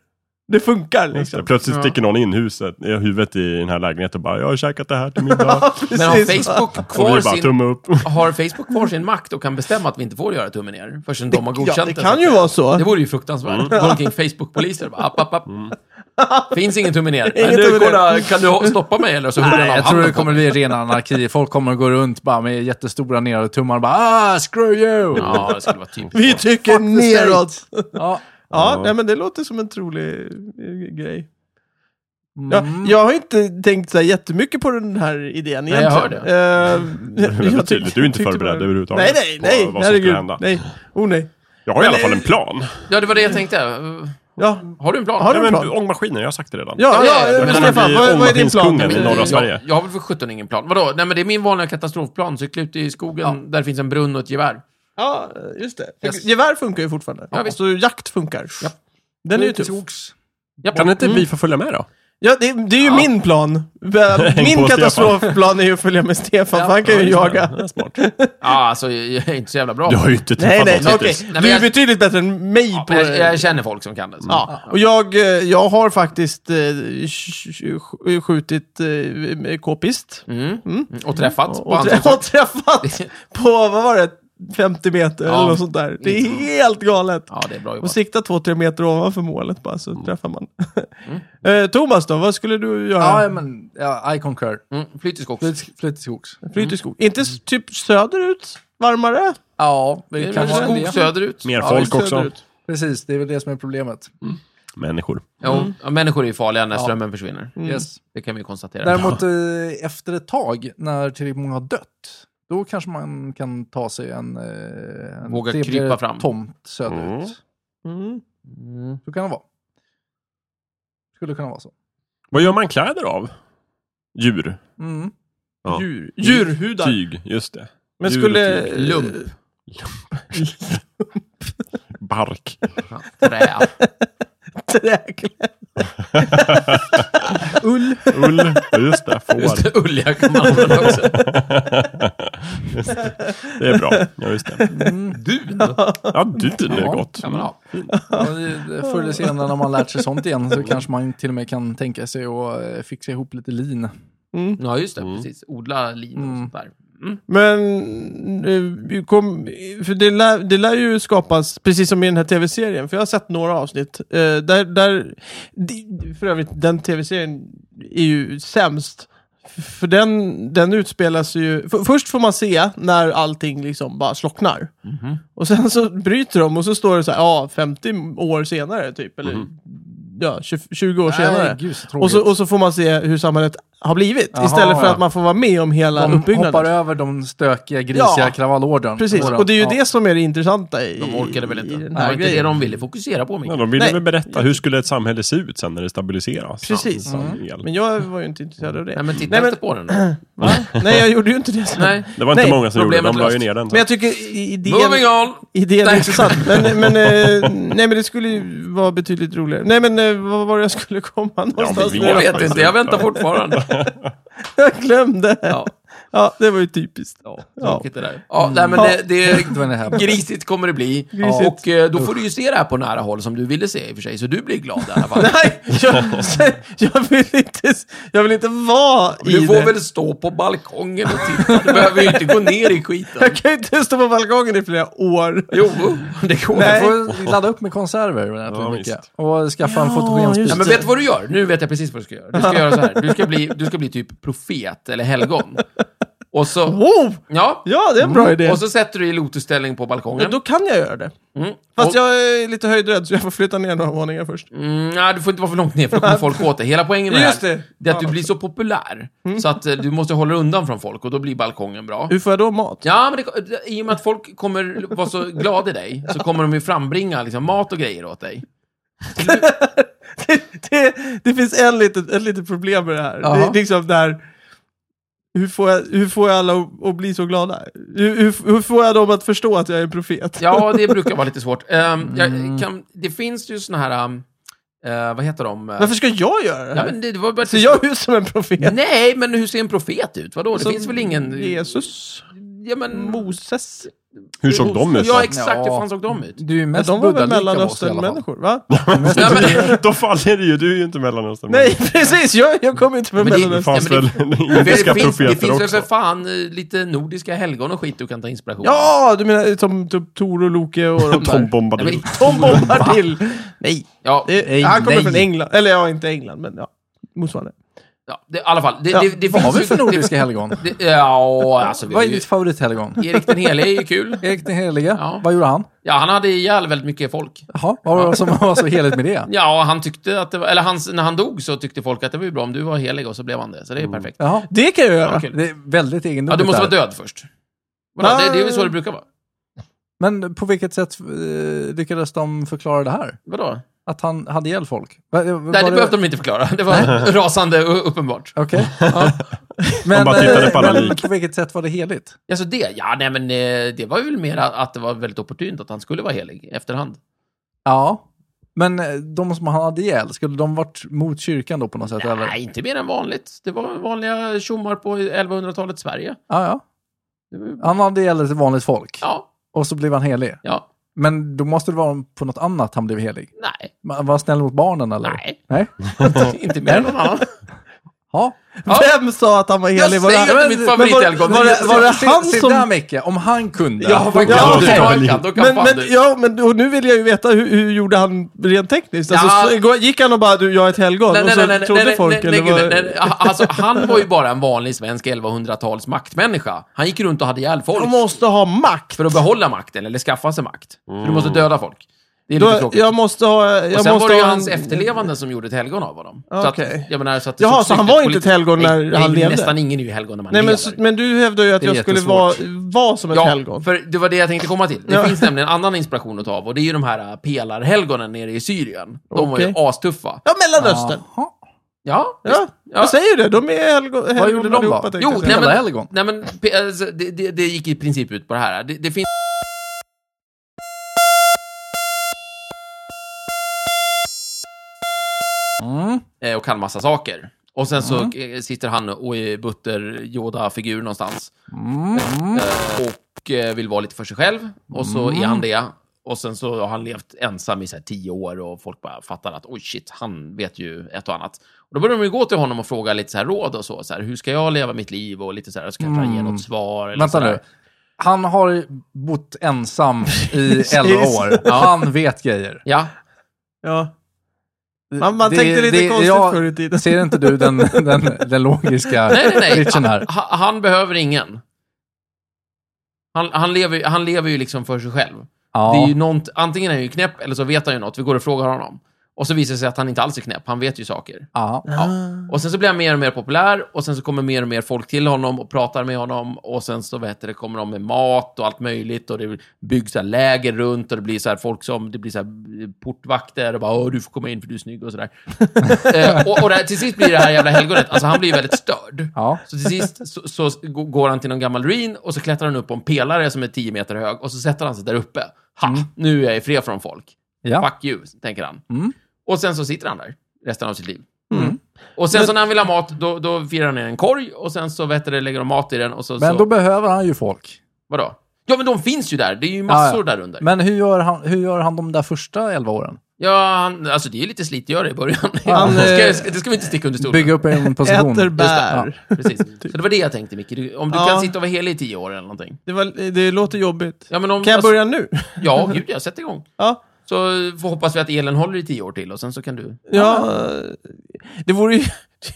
Speaker 1: Det funkar liksom.
Speaker 2: Plötsligt sticker någon in huset, i huvudet i den här lägenheten och bara jag har käkat det här till middag.
Speaker 4: Men har Facebook,
Speaker 2: och
Speaker 4: kvar
Speaker 2: vi bara
Speaker 4: sin,
Speaker 2: tumme upp.
Speaker 4: har Facebook kvar sin makt och kan bestämma att vi inte får göra tummen ner förrän de har godkänt
Speaker 1: Ja, det
Speaker 4: för
Speaker 1: kan ju Mm.
Speaker 4: att-
Speaker 1: vara så.
Speaker 4: Det vore ju fruktansvärt. Gå omkring Facebook-poliser och bara app, app, app. Finns ingen tummen ner.
Speaker 1: Ingen
Speaker 4: Men du,
Speaker 1: tumme ner.
Speaker 4: kolla, kan du ho- stoppa mig eller? Så hugger
Speaker 3: Nej,
Speaker 4: han av
Speaker 3: jag tror
Speaker 4: handen
Speaker 3: det kommer bli ren anarki. Folk kommer gå runt bara med jättestora nerade tummar och bara ah, screw you!
Speaker 4: på mig. Ja, det skulle vara typiskt.
Speaker 1: Vi tycker neråt.
Speaker 3: Ja.
Speaker 1: Ja,
Speaker 2: Ja.
Speaker 1: Nej, men det låter som en trolig eh, grej.
Speaker 3: Mm.
Speaker 1: Ja, jag har inte tänkt så här jättemycket på den här idén
Speaker 4: Mm. jag
Speaker 1: egentligen.
Speaker 4: hör
Speaker 1: Eh, jag
Speaker 2: väldigt
Speaker 1: tyck-
Speaker 2: tydligt. Du är inte
Speaker 1: tyckte
Speaker 2: förberedd
Speaker 1: bara-
Speaker 2: överhuvudtaget
Speaker 1: Nej, nej, nej.
Speaker 2: på vad som skulle
Speaker 1: herregud.
Speaker 2: hända.
Speaker 1: Nej. Oh, nej.
Speaker 2: Jag har i
Speaker 1: Men
Speaker 2: alla
Speaker 1: det-
Speaker 2: fall en plan.
Speaker 4: Ja, det var det jag tänkte.
Speaker 1: Ja,
Speaker 4: Har du en plan?
Speaker 1: Har du
Speaker 2: Ja,
Speaker 1: en
Speaker 2: men
Speaker 1: plan?
Speaker 2: ångmaskiner, jag har sagt det redan.
Speaker 1: ja,
Speaker 4: ja,
Speaker 1: ja,
Speaker 4: jag
Speaker 1: men
Speaker 4: kommer
Speaker 1: Stefan,
Speaker 2: bli
Speaker 1: vad, vad är din plan?
Speaker 2: ångmaskinskungen i norra Sverige.
Speaker 4: eh, Jag, jag har väl för sjutton ingen plan. Vadå? Nej, men det är min vanliga katastrofplan. Cykla ut i skogen där det finns en brunn och ett gevär.
Speaker 1: Ja, just det. För
Speaker 4: Yes.
Speaker 1: Gevär funkar ju fortfarande.
Speaker 4: Ja, visst.
Speaker 1: så jakt funkar. Den är
Speaker 4: typ
Speaker 1: ju tuff.
Speaker 4: Japp.
Speaker 2: Kan inte vi få följa med då?
Speaker 1: Ja, det, det är ju
Speaker 4: Ja.
Speaker 1: min plan. Min
Speaker 2: Stefan.
Speaker 1: katastrofplan är ju att följa med Stefan, för han kan ju jaga.
Speaker 2: Ja, smart.
Speaker 4: Ja, alltså, jag är inte så jävla bra.
Speaker 2: Du har ju inte
Speaker 1: Nej,
Speaker 2: träffat
Speaker 1: nej,
Speaker 2: oss
Speaker 1: okej.
Speaker 2: hittills.
Speaker 4: men
Speaker 1: Du är
Speaker 4: jag-
Speaker 1: betydligt bättre än mig
Speaker 4: Ja,
Speaker 1: på...
Speaker 4: men jag, jag känner folk som kan det. så.
Speaker 1: Ja, och jag, eh, jag har faktiskt eh, sk- sk- skjutit eh, k-pist.
Speaker 4: Mm. Mm. Och träffat på
Speaker 1: Och,
Speaker 4: andra
Speaker 1: trä- och
Speaker 4: saker.
Speaker 1: träffat på, vad var det, 50 meter
Speaker 4: Ja.
Speaker 1: eller något sånt där. Det är
Speaker 4: Mm.
Speaker 1: helt galet.
Speaker 4: Ja, det är bra
Speaker 1: Och
Speaker 4: jobbat.
Speaker 1: sikta 2-3 meter ovanför målet bara, så träffar man. eh, Thomas då, vad skulle du göra?
Speaker 3: Ja, men ja, I concur.
Speaker 4: Mm. Flyt till skogs.
Speaker 3: Flyt, flyt till skogs.
Speaker 1: Flyt i skog. Inte s- typ söderut? Varmare?
Speaker 3: Ja, det,
Speaker 4: Det är
Speaker 3: kan
Speaker 4: väl
Speaker 3: vara en
Speaker 4: skog
Speaker 3: del.
Speaker 4: söderut.
Speaker 2: Mer
Speaker 1: Ja,
Speaker 2: folk också.
Speaker 1: söderut.
Speaker 3: Precis, det är väl det som är problemet.
Speaker 2: Människor.
Speaker 4: Jo, ja, människor är ju farliga när strömmen försvinner.
Speaker 1: Mm.
Speaker 3: Yes.
Speaker 4: Det kan vi konstatera.
Speaker 3: Däremot eh, efter ett tag, när tillräckligt många har dött, då kanske man kan ta sig en, eh, en
Speaker 4: Våga
Speaker 3: trevligare
Speaker 4: krypa fram.
Speaker 3: tomt söderut.
Speaker 2: Mm.
Speaker 1: Mm.
Speaker 4: Mm.
Speaker 3: Så kan det vara. Skulle kunna vara så.
Speaker 2: Vad gör man kläder av? Djur.
Speaker 3: Mm.
Speaker 2: Ja.
Speaker 1: Djur. Djurhudar.
Speaker 2: Tyg, just det.
Speaker 1: Men
Speaker 2: Djur och
Speaker 1: skulle...
Speaker 2: tyg.
Speaker 4: Lump.
Speaker 2: Bark.
Speaker 4: Ja, Trä.
Speaker 1: Träkläder. Ull.
Speaker 2: Ull. Ja, Just det, får.
Speaker 4: Just det, ulja kan man använda också.
Speaker 2: Just det. det är bra. Ja, just det.
Speaker 4: Dun.
Speaker 2: Ja, dun är gott.
Speaker 4: Kan man ha.
Speaker 3: Ja, det- Förr eller senare när man lärt sig sånt igen så kanske man till och med kan tänka sig att eh, fixa ihop lite lin.
Speaker 4: Ja, just det. Precis. Odla lin och sånt där. Mm.
Speaker 1: Men eh, vi kom, för det, lär, det lär ju skapas, precis som i den här tv-serien, för jag har sett några avsnitt. eh, där, där, det- för övrigt, den tv-serien är ju sämst. För den, den utspelas ju... För, först får man se när allting liksom bara slocknar.
Speaker 3: Mhm.
Speaker 1: Och sen så bryter de och så står det så här, ja, 50 år senare typ. Eller ja, 20, 20 år senare.
Speaker 3: Mhm. Nej, gud så tråkigt.
Speaker 1: Och så, och så får man se hur samhället har blivit.
Speaker 3: Jaha,
Speaker 1: istället för
Speaker 3: ja.
Speaker 1: att man får vara med om hela
Speaker 3: de
Speaker 1: uppbyggnaden.
Speaker 3: hoppar över de stökiga, grisiga
Speaker 1: Ja,
Speaker 3: kravallåren.
Speaker 1: Precis,
Speaker 3: Åren.
Speaker 1: och det är ju
Speaker 3: Ja.
Speaker 1: det som är det intressanta i,
Speaker 4: De orkade väl inte.
Speaker 1: i
Speaker 4: Det
Speaker 1: den
Speaker 4: var
Speaker 1: här
Speaker 4: inte det
Speaker 1: grejen.
Speaker 4: de ville fokusera på,
Speaker 2: Ja,
Speaker 4: Mikael.
Speaker 2: de ville
Speaker 1: Nej.
Speaker 2: väl berätta, hur skulle ett samhälle se ut sen när det stabiliseras?
Speaker 1: Precis.
Speaker 2: Sann- sann el.
Speaker 1: Men jag var ju inte intresserad av det.
Speaker 4: Nej, men titta
Speaker 1: Nej, men-
Speaker 4: inte på den då.
Speaker 1: Va? Nej, jag gjorde ju inte det. sen.
Speaker 4: Nej.
Speaker 2: Det var inte
Speaker 1: Nej,
Speaker 2: många som gjorde det, de
Speaker 4: problemet
Speaker 2: la ju
Speaker 4: löst.
Speaker 2: ner den. sen.
Speaker 1: Men jag tycker i- idén,
Speaker 4: Moving on!
Speaker 1: idén är
Speaker 4: Nej.
Speaker 1: intressant. Men, men, eh, nej, men det skulle ju vara betydligt roligare. Nej, men eh, vad var det jag skulle komma någonstans?
Speaker 2: vi-
Speaker 1: nu?
Speaker 4: Jag vet inte, jag väntar fortfarande.
Speaker 1: Jag glömde. Ja.
Speaker 4: Ja.
Speaker 1: det var ju typiskt.
Speaker 4: Ja,
Speaker 1: Ja.
Speaker 4: tråkigt det där. Ja, nej, men
Speaker 1: Ja.
Speaker 4: det, det,
Speaker 3: When it happens.
Speaker 4: grisigt kommer det bli.
Speaker 1: Grisigt.
Speaker 4: Och eh, då får du ju se det här på nära håll som du ville se i och för sig, så du blir glad i alla fall.
Speaker 1: Nej, jag, jag, vill inte, jag vill inte vara i
Speaker 4: Du
Speaker 1: det.
Speaker 4: får väl stå på balkongen och titta. Du behöver ju inte gå ner i skiten.
Speaker 1: Jag kan ju inte stå på balkongen i flera år.
Speaker 4: Jo, det går.
Speaker 1: Nej.
Speaker 4: Nej.
Speaker 3: får ladda upp med konserver och äta
Speaker 2: Ja,
Speaker 3: mycket.
Speaker 2: visst.
Speaker 3: Och skaffa en
Speaker 1: Ja,
Speaker 3: fotogenspis.
Speaker 1: just
Speaker 4: Ja, men vet du vad du gör? Nu vet jag precis vad du ska göra. Du ska göra så här. Du ska bli, du ska bli typ profet eller helgon. Och så...
Speaker 1: Wow!
Speaker 4: Ja.
Speaker 1: Ja, det är en bra idé.
Speaker 4: Mm. Och så sätter du dig i lotusställning på
Speaker 1: Ja,
Speaker 4: balkongen.
Speaker 1: då kan jag göra det.
Speaker 4: Mm.
Speaker 1: Fast
Speaker 4: Och-
Speaker 1: jag är lite höjdrädd så jag får flytta ner några våningar först.
Speaker 4: Mm, nej, du får inte vara för långt ner för då kommer folk åt dig. Hela poängen med
Speaker 1: Just
Speaker 4: det
Speaker 1: det.
Speaker 4: här, det är att du
Speaker 1: Ja. Mm.
Speaker 4: blir så populär. Så att eh, du måste hålla dig undan från folk och då blir balkongen bra.
Speaker 1: Hur får jag då mat?
Speaker 4: Ja, men det, i och med att folk kommer vara så glada i dig så kommer de ju frambringa liksom, mat och grejer åt dig.
Speaker 1: det, det, det finns en litet, ett litet problem med det här.
Speaker 4: Jaha.
Speaker 1: Det är liksom det här hur får, jag, hur får jag alla att- att bli så glada? Hur, hur, hur får jag dem att förstå att jag är en profet?
Speaker 4: Ja, det brukar vara lite svårt. Ehm,
Speaker 2: Mm.
Speaker 4: jag, kan, det finns ju såna här, eh, vad heter de? Eh,
Speaker 1: Varför ska jag göra det
Speaker 4: ja,
Speaker 1: här?
Speaker 4: men det, det var bara
Speaker 1: Ser jag ut som en profet?
Speaker 4: Nej, men hur ser en profet ut? Vadå? Det
Speaker 1: Som
Speaker 4: finns väl ingen...
Speaker 1: Jesus?
Speaker 4: Ja, men...
Speaker 1: Moses?
Speaker 2: Hur såg de ut?
Speaker 4: Ja, exakt. Hur
Speaker 3: Ja.
Speaker 4: fan såg de ut?
Speaker 3: Du är ju
Speaker 1: Ja,
Speaker 3: mest
Speaker 1: de var väl
Speaker 3: buddha-lik av oss i alla fall.
Speaker 1: Mellanöstern-människor, va?
Speaker 4: Ja, men,
Speaker 2: Då faller det ju, du är ju inte Mellanöstern.
Speaker 1: Nej, precis! Jag, jag kommer inte från
Speaker 4: Men det-
Speaker 2: Det
Speaker 1: Mellanöstern.
Speaker 2: fanns
Speaker 4: Nej,
Speaker 2: väl
Speaker 4: men det,
Speaker 2: indiska
Speaker 4: finns, det
Speaker 2: profeter
Speaker 4: finns väl för
Speaker 2: också?
Speaker 4: fan eh, lite nordiska helgon och skit du kan ta inspiration av.
Speaker 1: Ja, du menar som typ Tor och Loke och de där?
Speaker 2: Tom
Speaker 4: Nej, men-
Speaker 2: Bombadil.
Speaker 1: Tom Bombadil! Nej,
Speaker 4: Ja,
Speaker 1: det,
Speaker 3: Nej,
Speaker 1: han kommer
Speaker 3: nej.
Speaker 1: från England. Eller ja, inte England, men ja, motsvarande.
Speaker 4: ja, det, i alla fall. Det,
Speaker 1: Ja,
Speaker 4: det, det
Speaker 3: Vad har
Speaker 4: finns
Speaker 3: vi
Speaker 4: ju-
Speaker 3: för
Speaker 4: det-
Speaker 3: nordiska helgon?
Speaker 4: Det, ja, alltså vi har
Speaker 3: Vad är
Speaker 4: ju,
Speaker 3: ditt favorithelgon?
Speaker 4: Erik den heliga är ju kul.
Speaker 3: Erik den helige,
Speaker 4: Ja.
Speaker 3: vad gjorde han?
Speaker 4: Ja, han hade ihjäl väldigt mycket folk.
Speaker 3: Jaha, vad var det som var så heligt med det?
Speaker 4: Ja, han tyckte att det var, eller hans, när han dog så tyckte folk att det var ju bra om du var helig och så blev han det. Så det är ju perfekt.
Speaker 3: Jaha,
Speaker 1: Det kan jag göra.
Speaker 4: Ja, kul.
Speaker 3: Mm. det är väldigt
Speaker 4: ja,
Speaker 3: egendomligt.
Speaker 4: du måste
Speaker 3: där.
Speaker 4: vara död först. Vadå,
Speaker 1: Ah.
Speaker 4: det, det är väl så det brukar vara?
Speaker 3: Men på vilket sätt eh, lyckades de förklara det här?
Speaker 4: Vadå?
Speaker 3: Att han hade ihjäl folk? Va- va- var
Speaker 4: Nej, det behövde de inte förklara. Det var rasande u- uppenbart.
Speaker 3: Okej.
Speaker 4: Ja.
Speaker 3: Men,
Speaker 2: bara tittade
Speaker 3: eh,
Speaker 2: på alla
Speaker 3: men
Speaker 2: lik.
Speaker 3: på vilket sätt var det heligt?
Speaker 4: Alltså det? Ja, nej men eh, det var ju väl mer att att det var väldigt opportunt att han skulle vara helig i efterhand.
Speaker 3: Ja. Men eh, de som han hade ihjäl, skulle de varit mot kyrkan då på något sätt? Eller?
Speaker 4: Nej, inte mer än vanligt. Det var vanliga tjommar på 1100-talets Sverige.
Speaker 3: Ja, ja.
Speaker 4: Det var ju-
Speaker 3: Han hade ihjäl ett vanligt folk
Speaker 4: Ja,
Speaker 3: och så blev han helig.
Speaker 4: ja,
Speaker 3: Men då måste det vara på något annat han blev helig.
Speaker 4: nej,
Speaker 3: Man Var snäll mot barnen eller?
Speaker 4: nej.
Speaker 3: Nej?
Speaker 4: inte mer än någon annan.
Speaker 3: Ja.
Speaker 4: Ja.
Speaker 1: Vem sa att han var helig?
Speaker 4: Jag
Speaker 1: Var det-
Speaker 4: säger ju att det är
Speaker 1: men-
Speaker 4: mitt favorithelgon.
Speaker 1: men Var, var, det- var det
Speaker 3: Se-
Speaker 1: han
Speaker 3: se där
Speaker 1: som...
Speaker 3: Micke, om han kunde.
Speaker 4: Ja, vad
Speaker 3: Då
Speaker 4: kan
Speaker 1: Ja,
Speaker 4: du?
Speaker 1: okej.
Speaker 4: Ja, kan, då kan
Speaker 1: Men,
Speaker 4: fan
Speaker 1: men,
Speaker 4: du.
Speaker 1: ja, men, och nu vill jag ju veta, hur, hur gjorde han rent tekniskt?
Speaker 4: Ja.
Speaker 1: Alltså, så, gick han och bara, du, jag är ett helgon?
Speaker 4: Nej,
Speaker 1: och
Speaker 4: nej,
Speaker 1: så
Speaker 4: nej, nej,
Speaker 1: trodde
Speaker 4: nej, nej,
Speaker 1: folk,
Speaker 4: nej,
Speaker 1: eller
Speaker 4: nej,
Speaker 1: vad?
Speaker 4: nej, nej, nej. Ah, Alltså, han var ju bara en vanlig svensk 1100-tals maktmänniska. Han gick runt och hade ihjäl folk
Speaker 1: Han måste ha makt.
Speaker 4: för att behålla makten, eller skaffa sig makt. För du måste döda folk. Det är lite
Speaker 1: Mm. Då,
Speaker 4: tråkigt.
Speaker 1: jag måste ha... Jag
Speaker 4: och sen
Speaker 1: måste
Speaker 4: var det ju
Speaker 1: ha en-
Speaker 4: hans efterlevande som gjorde ett helgon av honom. Så att-
Speaker 1: Okej.
Speaker 4: jag menar, så att det
Speaker 1: Jaha,
Speaker 4: såg
Speaker 1: så han
Speaker 4: snyggt
Speaker 1: var
Speaker 4: ut
Speaker 1: inte ett
Speaker 4: politiskt.
Speaker 1: helgon när
Speaker 4: Nej,
Speaker 1: han
Speaker 4: nej,
Speaker 1: levde?
Speaker 4: Nästan ingen är ju helgon när man
Speaker 1: Nej, men,
Speaker 4: lever.
Speaker 1: så- men du hävdade ju att
Speaker 3: Det är
Speaker 1: jag skulle vara,
Speaker 3: jättesvårt.
Speaker 1: vara som ett
Speaker 4: Ja,
Speaker 1: helgon.
Speaker 4: för det var det jag tänkte komma till. Det
Speaker 1: Ja.
Speaker 4: finns nämligen annan inspiration att ta av och det är ju de här äh, pelarhelgonen nere i Syrien. De
Speaker 1: Okej.
Speaker 4: var ju astuffa.
Speaker 1: Ja, Mellanöstern.
Speaker 3: Jaha.
Speaker 4: Ja,
Speaker 1: Ja, jag säger det. De är helgon, helgon
Speaker 3: gjorde de då?
Speaker 1: allihopa, tänkte
Speaker 4: Jo,
Speaker 1: jag säga.
Speaker 4: nej men,
Speaker 3: Pelarhelgon.
Speaker 4: Nej, men pe- alltså, det, det, det gick i princip ut på det här. Det, det finns...
Speaker 3: Mm.
Speaker 4: eh, och kan massa saker. Och sen så
Speaker 1: Mm.
Speaker 4: eh, sitter han och är butter Yoda-figur någonstans.
Speaker 3: Mm. Mm.
Speaker 4: eh, Och eh, vill vara lite för sig själv. Och så är han det. Och sen så har han levt ensam i så här tio år och folk bara fattar att oj shit, han vet ju ett och annat. Och då börjar de ju gå till honom och fråga lite så här råd och så. så här, hur ska jag leva mitt liv? Och lite så här, så kanske han ger något svar. Eller
Speaker 3: Mm. Vänta
Speaker 4: så där.
Speaker 3: nu. Han har bott ensam i 11 år.
Speaker 4: Ja.
Speaker 3: Han vet grejer.
Speaker 4: Ja,
Speaker 1: Ja. Man, man
Speaker 3: Det-
Speaker 1: tänkte lite
Speaker 3: det-
Speaker 1: konstigt
Speaker 3: ja,
Speaker 1: förr i tiden.
Speaker 3: Ser inte du den, den, den logiska
Speaker 4: nej, nej, nej.
Speaker 3: glitchen här?
Speaker 4: Ha- han behöver ingen. Han, han, lever, ju- han lever ju liksom för sig själv.
Speaker 3: Ja.
Speaker 4: Det är ju nånt, antingen är han ju knäpp eller så vet han ju något. Vi går och frågar honom. Och så visar det sig att han inte alls är knäpp. Han vet ju saker.
Speaker 3: ja.
Speaker 4: Ja.
Speaker 1: Ah.
Speaker 4: Och sen så blir han mer och mer populär och sen så kommer mer och mer folk till honom och pratar med honom och sen så vet det, kommer de med mat och allt möjligt och det byggs så här läger runt och det blir så här folk som, det blir så här eh, portvakter och bara Åh, du får komma in för du är snygg och sådär. eh, och och det här, till sist blir det här jävla helgonet, alltså han blir ju väldigt störd.
Speaker 3: Ja.
Speaker 4: Så till sist så, så g- går han till någon gammal ruin och så klättrar han upp på en pelare som är 10 meter hög och så sätter han sig där uppe. Ha, nu är jag i fred från folk.
Speaker 3: ja.
Speaker 4: Fuck alltså. you, tänker han.
Speaker 3: Mm.
Speaker 4: Och sen så sitter han där resten av sitt liv. Mm. Och sen så när han vill ha mat, då, då firar han i en korg och sen så vet du, det, lägger de mat i den och så...
Speaker 3: Men
Speaker 4: så,
Speaker 3: då behöver han ju folk.
Speaker 4: vadå? Ja, men de finns ju där. Det är ju massor
Speaker 3: Ja, ja.
Speaker 4: där under.
Speaker 3: Men hur gör han, hur gör han de där första 11 åren?
Speaker 4: Ja, han, alltså det är ju lite slitgöra i början.
Speaker 1: Han,
Speaker 4: det,
Speaker 1: eh,
Speaker 4: ska, det ska vi inte sticka under stol med.
Speaker 3: Bygga typ. upp en position.
Speaker 1: Äter
Speaker 4: Just det,
Speaker 1: bär.
Speaker 4: ja, precis. Så det var det jag tänkte, Micke. Du, om du
Speaker 1: Ja.
Speaker 4: kan sitta och vara helig i tio år eller någonting.
Speaker 1: Det, var, det låter jobbigt.
Speaker 4: Ja, men om,
Speaker 1: Kan jag börja nu?
Speaker 4: Alltså, ja, gud jag sätter igång.
Speaker 1: Ja.
Speaker 4: Så får hoppas vi att elen håller i tio år till och sen så kan du...
Speaker 1: Ja, det vore ju,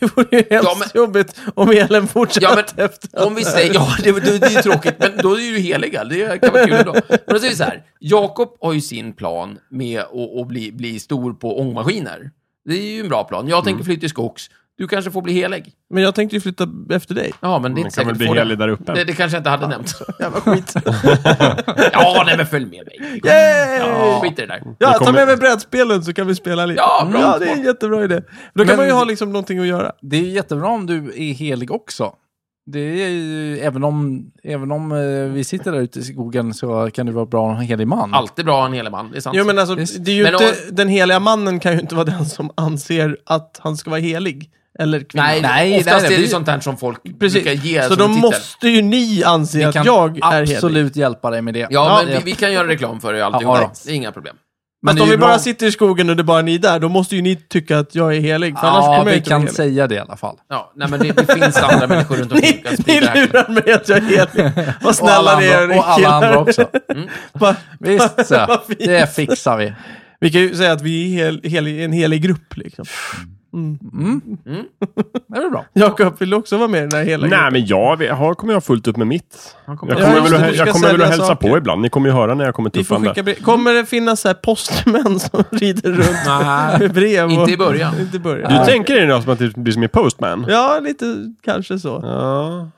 Speaker 1: det vore ju hemskt
Speaker 4: Ja, men-
Speaker 1: jobbigt om elen
Speaker 4: Ja,
Speaker 1: fortsatte
Speaker 4: men
Speaker 1: efter.
Speaker 4: om vi säger... Ja, det, det, det är ju tråkigt, men då är ju heliga. Det kan vara kul ändå. Men då säger vi så här. Jakob har ju sin plan med att, att bli, bli stor på ångmaskiner. Det är ju en bra plan. Jag tänker flytta till skogs. Du kanske får bli helig.
Speaker 1: Men jag tänkte ju flytta efter dig.
Speaker 4: Ja, men det är
Speaker 2: Man
Speaker 4: inte
Speaker 2: kan väl
Speaker 4: säkert
Speaker 2: bli
Speaker 4: du får
Speaker 2: helig där uppe.
Speaker 4: det. det. Det kanske jag inte hade nämnt.
Speaker 1: Jävla skit.
Speaker 4: Ja, nej men följ med mig.
Speaker 1: Yay!
Speaker 4: Ja,
Speaker 1: Ja,
Speaker 4: skit i det där.
Speaker 1: ta med mig brädspelen så kan vi spela lite.
Speaker 4: Ja, bra.
Speaker 1: ja det är en jättebra idé. Då kan
Speaker 3: Men-
Speaker 1: man ju ha liksom någonting att göra.
Speaker 3: Det är ju jättebra om du är helig också. Det är ju, även om, även om eh, vi sitter där ute i skogen så kan du vara bra en helig man.
Speaker 4: Alltid bra att ha en helig man, det är sant.
Speaker 1: Jo, men alltså,
Speaker 3: Visst.
Speaker 1: det är ju
Speaker 4: Men
Speaker 1: inte,
Speaker 4: om-
Speaker 1: den heliga mannen kan ju inte vara den som anser att han ska vara helig. Eller kvinna.
Speaker 4: Nej,
Speaker 3: Nej,
Speaker 4: oftast
Speaker 3: nej,
Speaker 4: är det ju
Speaker 3: vi-
Speaker 4: sånt här som folk brukar ge
Speaker 1: Precis. Så
Speaker 3: alltså
Speaker 4: som
Speaker 1: då
Speaker 4: titel.
Speaker 1: måste ju ni anse
Speaker 3: Vi
Speaker 1: att
Speaker 3: kan
Speaker 1: jag är helig.
Speaker 3: absolut hjälpa dig med det.
Speaker 4: Ja, men
Speaker 3: det-
Speaker 4: vi, vi kan göra reklam för det och alltihopa.
Speaker 3: Ja, ja.
Speaker 4: det är inga problem.
Speaker 1: Men
Speaker 3: det är
Speaker 1: om
Speaker 3: ju
Speaker 1: vi bara
Speaker 3: bra-
Speaker 1: sitter i skogen och det är bara ni där, då måste ju ni tycka att jag är helig. För annars
Speaker 3: Ja,
Speaker 1: kommer jag
Speaker 3: vi
Speaker 1: inte vara
Speaker 3: kan
Speaker 1: helig.
Speaker 3: säga det i alla fall.
Speaker 4: Ja, nej, men det, det finns andra människor runt omkring.
Speaker 1: Ni,
Speaker 4: som kan
Speaker 1: ni
Speaker 4: sprida det här.
Speaker 1: lurar mig att jag är helig. Vad
Speaker 3: Och alla,
Speaker 1: snälla ni är,
Speaker 3: andra,
Speaker 1: ni
Speaker 3: och alla andra
Speaker 1: killar.
Speaker 3: också.
Speaker 1: Bara-
Speaker 3: Visst, så.
Speaker 1: Vad fint.
Speaker 3: det fixar vi.
Speaker 1: Vi kan ju säga att vi är hel, hel, en helig grupp. Liksom.
Speaker 3: Det är väl bra.
Speaker 1: Jakob, vill du också vara med i den här hela
Speaker 2: Nej,
Speaker 1: gruppen?
Speaker 2: men jag vet- har, kommer jag fullt upp med mitt.
Speaker 4: Han kommer
Speaker 2: Jag
Speaker 1: Ja,
Speaker 2: kommer
Speaker 1: just
Speaker 2: väl
Speaker 1: det,
Speaker 2: att,
Speaker 1: du
Speaker 2: jag
Speaker 1: ska
Speaker 2: kommer väl
Speaker 1: sälja
Speaker 2: att hälsa
Speaker 1: saker.
Speaker 2: på ibland. Ni kommer ju höra när jag kommer
Speaker 1: Vi får skicka
Speaker 2: tuffande.
Speaker 1: brev. Kommer det finnas så här postmän som rider runt
Speaker 4: Nej,
Speaker 1: med brev?
Speaker 4: inte i början.
Speaker 1: Inte i början.
Speaker 2: Du tänker dig nu som att det blir som i Postman?
Speaker 1: Ja, lite kanske så.
Speaker 2: Ja.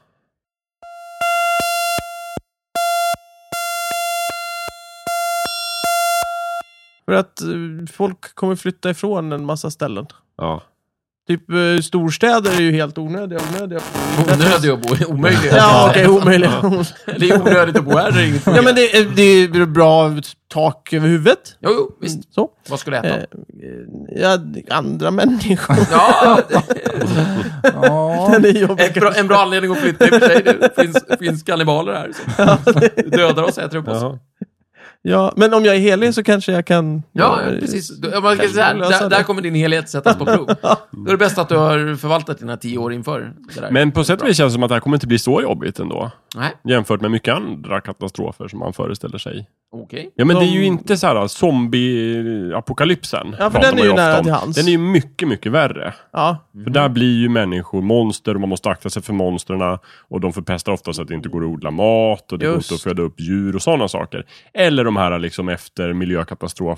Speaker 1: För att eh, folk kommer flytta ifrån en massa ställen.
Speaker 2: ja.
Speaker 1: Typ eh, storstäder är ju helt onödiga. onödiga.
Speaker 4: onödig att bo omöjlig.
Speaker 1: Ja, okej, omöjligt.
Speaker 4: Det är onödigt att bo här. Det är inget
Speaker 1: Ja, men det, är- det är bra tak över huvudet.
Speaker 4: Jo, jo, visst.
Speaker 1: Så.
Speaker 4: Vad skulle jag
Speaker 1: Eh,
Speaker 4: äta?
Speaker 1: eh, ja, andra människor.
Speaker 4: Ja,
Speaker 3: Ja,
Speaker 1: Den är jobbig.
Speaker 4: ett bra, en bra anledning att flytta i och för sig. Det finns, finns kannibaler här som dödar oss och äter upp oss.
Speaker 2: Jaha.
Speaker 1: Ja, men om jag är helig så kanske jag kan...
Speaker 4: Ja, precis. Du- ja, Man ska säga,
Speaker 1: vi löser
Speaker 4: där,
Speaker 2: alltså.
Speaker 1: det.
Speaker 4: där kommer din helhet sättas på prov. Då är det bäst att du har förvaltat dina tio år inför det där.
Speaker 2: Men på sätt och vis känns det som att det här kommer inte bli så jobbigt ändå.
Speaker 4: Nej,
Speaker 2: Jämfört med mycket andra katastrofer som man föreställer sig.
Speaker 4: okej.
Speaker 2: Ja, men
Speaker 1: De-
Speaker 2: det är ju inte så här alltså, zombie-apokalypsen.
Speaker 1: Ja, för
Speaker 2: pratar
Speaker 1: den är
Speaker 2: man
Speaker 1: ju nära
Speaker 2: ofta om.
Speaker 1: till hands. Mm.
Speaker 2: Den är ju mycket, mycket värre.
Speaker 1: Ja,
Speaker 2: För där blir ju människor monster och man måste akta sig för monstren. Och de förpestar ofta så att det inte går att odla mat och det går
Speaker 1: Just.
Speaker 2: inte att föda upp djur och sådana saker. Eller de här liksom efter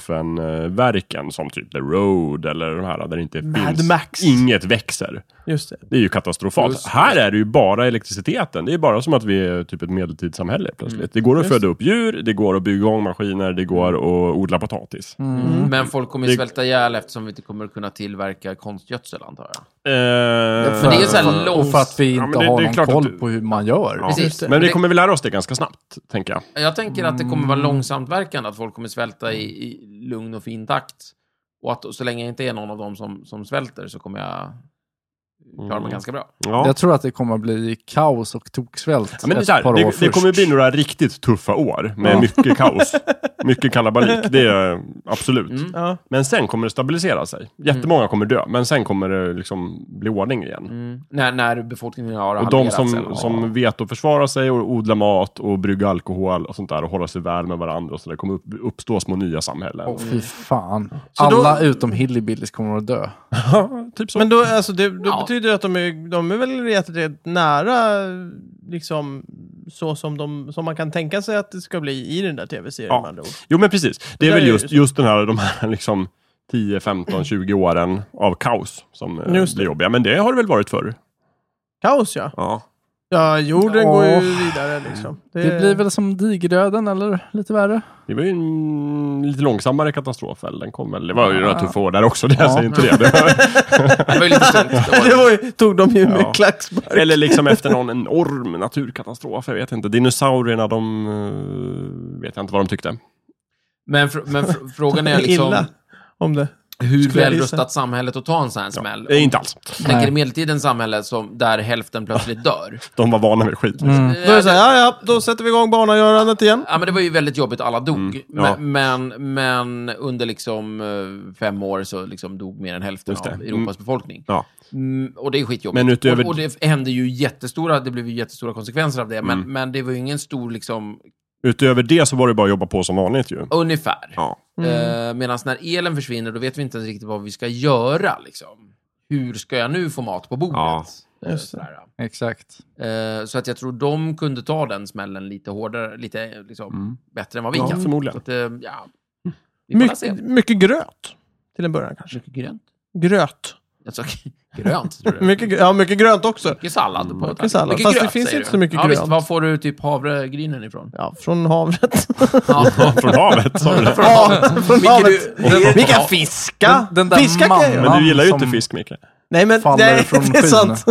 Speaker 2: miljökatastrofen-verken som typ The Road eller de här där det inte
Speaker 1: Mad
Speaker 2: finns.
Speaker 1: Max.
Speaker 2: Inget växer.
Speaker 1: just det.
Speaker 2: Det är ju katastrofalt.
Speaker 4: Just det.
Speaker 2: Här är det ju bara elektriciteten. Det är bara som att vi är typ ett medeltidssamhälle plötsligt.
Speaker 4: Mm.
Speaker 2: Det går att föda upp djur, det går att bygga igång maskiner, det går att odla potatis.
Speaker 4: Mm. Men folk kommer ju
Speaker 2: Mm. Det-
Speaker 4: svälta ihjäl eftersom vi inte kommer att kunna tillverka konstgödsel, antar jag.
Speaker 2: Eh,
Speaker 4: För det är ju så här
Speaker 3: för-
Speaker 4: lås-
Speaker 3: För att vi
Speaker 2: Ja, men
Speaker 3: inte
Speaker 2: det-
Speaker 3: har
Speaker 2: det är
Speaker 3: någon
Speaker 2: klart att
Speaker 3: koll
Speaker 2: du-
Speaker 3: på hur man gör.
Speaker 2: Ja.
Speaker 4: Precis.
Speaker 2: Men vi
Speaker 4: Det-
Speaker 2: kommer väl lära oss det ganska snabbt, tänker jag.
Speaker 4: Jag tänker att det kommer vara
Speaker 1: Mm.
Speaker 4: långsamt verkande, att folk kommer svälta i, i lugn och fin takt. Och att så länge jag inte är någon av dem som, som svälter så kommer jag klarar
Speaker 1: Mm.
Speaker 4: man ganska bra.
Speaker 2: Ja.
Speaker 3: Jag tror att det kommer bli kaos och toksvält
Speaker 2: Ja, men det, är
Speaker 3: ett
Speaker 2: så här,
Speaker 3: par år
Speaker 2: det, det
Speaker 3: först.
Speaker 2: kommer bli några riktigt tuffa år med
Speaker 3: Ja.
Speaker 2: mycket kaos. Mycket kalabalik, det är eh, absolut.
Speaker 4: Mm.
Speaker 1: Ja.
Speaker 2: Men sen kommer det stabilisera sig. Jättemånga kommer dö, men sen kommer det liksom bli ordning igen.
Speaker 4: Mm. När, när befolkningen har
Speaker 2: Och de
Speaker 4: halverats
Speaker 2: som,
Speaker 4: eller-
Speaker 2: som vet att försvara sig och odla mat och brygga alkohol och sånt där och hålla sig väl med varandra och så där, kommer upp, uppstå små nya samhällen.
Speaker 3: Åh, fy fan.
Speaker 1: Så då-
Speaker 3: Alla utom hillbillies kommer att dö.
Speaker 2: typ så.
Speaker 1: Men då, alltså, det, då
Speaker 4: Ja.
Speaker 1: betyder det att de är, de är väl rätt, rätt nära liksom, så som, de, som man kan tänka sig att det ska bli i den där tv-serien
Speaker 2: Ja.
Speaker 1: med andra ord.
Speaker 2: Jo, men precis. Det är
Speaker 1: där
Speaker 2: väl
Speaker 1: är-
Speaker 2: just, just den här, de här liksom 10, 15, 20 åren av kaos som eh,
Speaker 1: Just det.
Speaker 2: blir jobbiga. Men det har det väl varit förr?
Speaker 1: Kaos ja.
Speaker 2: Ja.
Speaker 1: Ja, jorden
Speaker 3: Ja.
Speaker 1: går ju vidare liksom.
Speaker 3: Det blir väl som digerdöden eller lite värre.
Speaker 2: Det var ju en lite långsammare katastrof väl? Den kom väl. Det var ju några
Speaker 3: Ja.
Speaker 2: tuffa år där också, det jag
Speaker 3: Ja.
Speaker 2: säger inte det. det. var-
Speaker 4: Det var ju lite tungt.
Speaker 1: Det var ju, tog de ju med
Speaker 2: Ja.
Speaker 1: klackspark.
Speaker 2: Eller liksom efter någon enorm naturkatastrof, jag vet inte. Dinosaurierna, de... eh, vet jag inte vad de tyckte.
Speaker 4: Men, fr- men fr- frågan är liksom
Speaker 1: Illa om det.
Speaker 4: hur
Speaker 1: Skulle jag
Speaker 4: välrustat samhället att ta en sån här smäll.
Speaker 2: Eh, inte alls.
Speaker 4: Tänker
Speaker 3: Nej.
Speaker 4: i medeltidens samhälle som, där hälften plötsligt dör.
Speaker 2: De var vana vid skit. Liksom.
Speaker 1: Då är det så här, ja, ja, då sätter vi igång barnagörandet igen.
Speaker 4: Ja, men det var ju väldigt jobbigt, alla dog.
Speaker 2: Mm, ja.
Speaker 4: men, men, men under liksom eh, fem år så liksom dog mer än hälften
Speaker 2: Just det.
Speaker 4: av
Speaker 2: Mm.
Speaker 4: Europas befolkning.
Speaker 2: Ja.
Speaker 4: Mm, och det är skitjobbigt.
Speaker 2: Men utöver-
Speaker 4: och, och det hände ju jättestora, det blev ju jättestora konsekvenser av det, men,
Speaker 2: Mm.
Speaker 4: men det var ju ingen stor, liksom,
Speaker 2: Utöver det så var det bara att jobba på som vanligt ju.
Speaker 4: ungefär.
Speaker 2: Ja.
Speaker 1: Mm.
Speaker 4: Eh, Medan när elen försvinner, då vet vi inte riktigt vad vi ska göra. Liksom. Hur ska jag nu få mat på bordet?
Speaker 2: Ja.
Speaker 4: Eh,
Speaker 1: Just det.
Speaker 4: sådär.
Speaker 3: Exakt.
Speaker 4: Eh, Så att jag tror de kunde ta den smällen lite hårdare, lite eh, liksom, bättre än vad vi
Speaker 2: Ja,
Speaker 4: kan.
Speaker 2: förmodligen.
Speaker 4: Så att, eh, ja. Vi får väl se.
Speaker 1: Mm. Mycket, mycket gröt. Till en början kanske.
Speaker 4: Mycket grönt.
Speaker 1: Gröt.
Speaker 4: Alltså, grönt, tror du?
Speaker 1: Mycket, grö- ja, mycket grönt också.
Speaker 4: Mycket sallad. På
Speaker 1: Mycket sallad. Fast det finns
Speaker 4: säger
Speaker 1: inte
Speaker 4: du.
Speaker 1: så mycket
Speaker 4: ja, Visst,
Speaker 1: grönt.
Speaker 4: var får du typ havregrynen ifrån?
Speaker 1: Ja, från havret.
Speaker 4: Ja.
Speaker 2: Från havet, sa du det?
Speaker 1: Ja, från
Speaker 4: Vilket
Speaker 1: havet.
Speaker 4: du-
Speaker 1: Vilka fiska!
Speaker 3: Den- den där
Speaker 1: fiska kan jag
Speaker 3: man-
Speaker 1: göra.
Speaker 2: Men du gillar ju
Speaker 3: Som-
Speaker 2: inte fisk, Micke.
Speaker 1: Nej, men
Speaker 3: faller
Speaker 1: nej,
Speaker 3: från
Speaker 1: det är
Speaker 3: skyn.
Speaker 1: sant.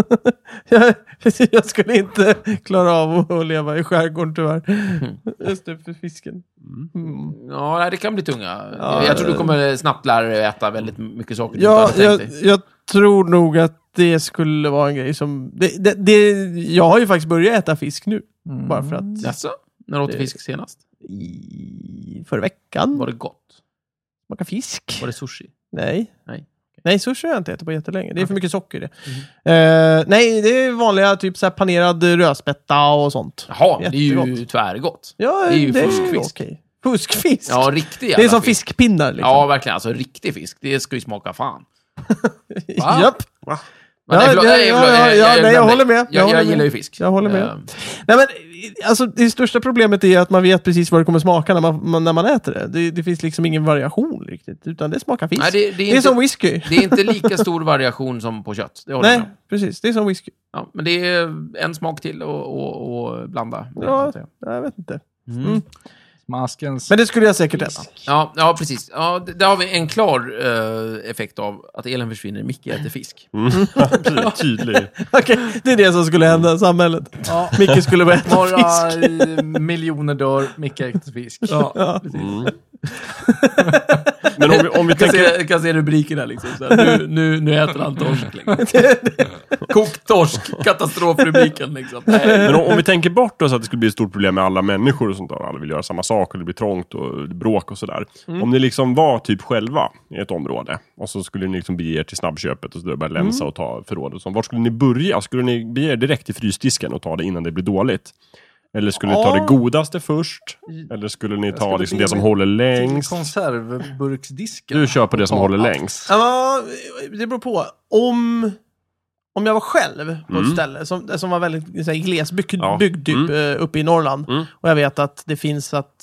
Speaker 1: jag, jag skulle inte klara av att- att leva i skärgården
Speaker 4: Mm.
Speaker 1: tyvärr. Just det, för fisken. Mm.
Speaker 4: ja, nej, det kan bli tunga.
Speaker 1: Ja,
Speaker 4: jag tror du
Speaker 1: det-
Speaker 4: kommer snabbt lära dig att äta väldigt mycket saker du
Speaker 1: Ja,
Speaker 4: inte hade
Speaker 1: jag,
Speaker 4: tänkt dig.
Speaker 1: jag tror nog att det skulle vara en grej som... Det, det, det, jag har ju faktiskt börjat äta fisk nu. Bara för att...
Speaker 4: Jaså? När åt du
Speaker 1: Det-
Speaker 4: fisk senast?
Speaker 1: I, förra veckan.
Speaker 4: Var
Speaker 1: Var
Speaker 4: det gott?
Speaker 1: Smaka fisk.
Speaker 4: Var det sushi?
Speaker 1: Nej.
Speaker 4: Nej. Mm.
Speaker 1: Nej, sushi har jag inte ätit på jättelänge. Det är för mycket socker i det. Eh, nej, det är vanliga typ så här panerad rödspätta och sånt.
Speaker 4: Jaha, men det är ju
Speaker 1: Jättegott.
Speaker 4: tvärgott.
Speaker 1: Ja,
Speaker 4: Det är ju
Speaker 1: ju
Speaker 4: fuskfisk.
Speaker 1: okej. Fuskfisk?
Speaker 4: Ja, riktig
Speaker 1: det är
Speaker 4: jävla
Speaker 1: som fiskpinnar liksom.
Speaker 4: Ja, verkligen. Alltså riktig fisk. Det ska ju smaka fan. va?
Speaker 1: Japp.
Speaker 4: Men
Speaker 1: Ja,
Speaker 4: nej, förlåt,
Speaker 1: ja,
Speaker 4: nej, förlåt,
Speaker 1: ja,
Speaker 4: jag-
Speaker 1: ja, nej,
Speaker 4: jag
Speaker 1: jag
Speaker 4: glömde.
Speaker 1: håller med. Jag
Speaker 4: Jag,
Speaker 1: håller
Speaker 4: jag
Speaker 1: med.
Speaker 4: gillar ju fisk.
Speaker 1: Jag håller med.
Speaker 4: Eh,
Speaker 1: Nej, men, alltså, det största problemet är att man vet precis vad det kommer smaka när man, man, när man äter det. det. Det finns liksom ingen variation riktigt, utan det smakar fisk.
Speaker 4: Nej, det, det, är
Speaker 1: det, är
Speaker 4: inte,
Speaker 1: som whisky.
Speaker 4: det är inte lika stor variation som på kött. Det håller jag
Speaker 1: Nej,
Speaker 4: med om.
Speaker 1: precis. Det är som whisky.
Speaker 4: Ja, men det är en smak till och, och, och blanda.
Speaker 1: Ja, jag vet inte.
Speaker 3: Maskens...
Speaker 1: Men det skulle jag säkert äta.
Speaker 4: Ja, ja precis. Ja, d- där har vi en klar eh, effekt av att elen försvinner. Micke äter fisk.
Speaker 1: Mm,
Speaker 2: Ty- Tydlig.
Speaker 1: Okej, det är det som skulle hända i samhället.
Speaker 3: Ja.
Speaker 1: Micke skulle börja äta
Speaker 3: Några
Speaker 1: fisk.
Speaker 3: eh, miljoner dör, Micke äter fisk.
Speaker 1: Ja.
Speaker 2: Mm. Men om vi, om vi
Speaker 4: Jag kan, se,
Speaker 2: tänker...
Speaker 4: jag kan se rubrikerna liksom. Så här, nu, nu, nu äter han torsk. Liksom. Koktorsk, katastrofrubriken liksom. Nej.
Speaker 2: Men om, om vi tänker bort då, så att det skulle bli ett stort problem med alla människor och sånt där. Alla vill göra samma sak och det blir trångt och bråk och sådär.
Speaker 3: Mm.
Speaker 2: Om ni liksom var typ själva i ett område och så skulle ni liksom bege er till snabbköpet och så börja
Speaker 3: Mm.
Speaker 2: länsa och ta förråd och sånt. Vart skulle ni börja? Skulle ni bege er direkt till frysdisken och ta det innan det blir dåligt? Eller skulle ni ta
Speaker 1: Ja.
Speaker 2: det godaste först? Eller skulle ni ta
Speaker 3: skulle
Speaker 2: liksom
Speaker 3: bege
Speaker 2: det som
Speaker 3: mig
Speaker 2: håller längst?
Speaker 3: Konservburksdisken.
Speaker 2: Du kör på det som
Speaker 3: Ja.
Speaker 2: håller längst.
Speaker 1: Ja, det beror på. Om, om jag var själv på ett
Speaker 2: Mm.
Speaker 1: ställe som, som var väldigt så här, glesbygd
Speaker 2: Ja.
Speaker 1: byggd typ, eh, uppe i Norrland
Speaker 2: Mm.
Speaker 1: och jag vet att det finns att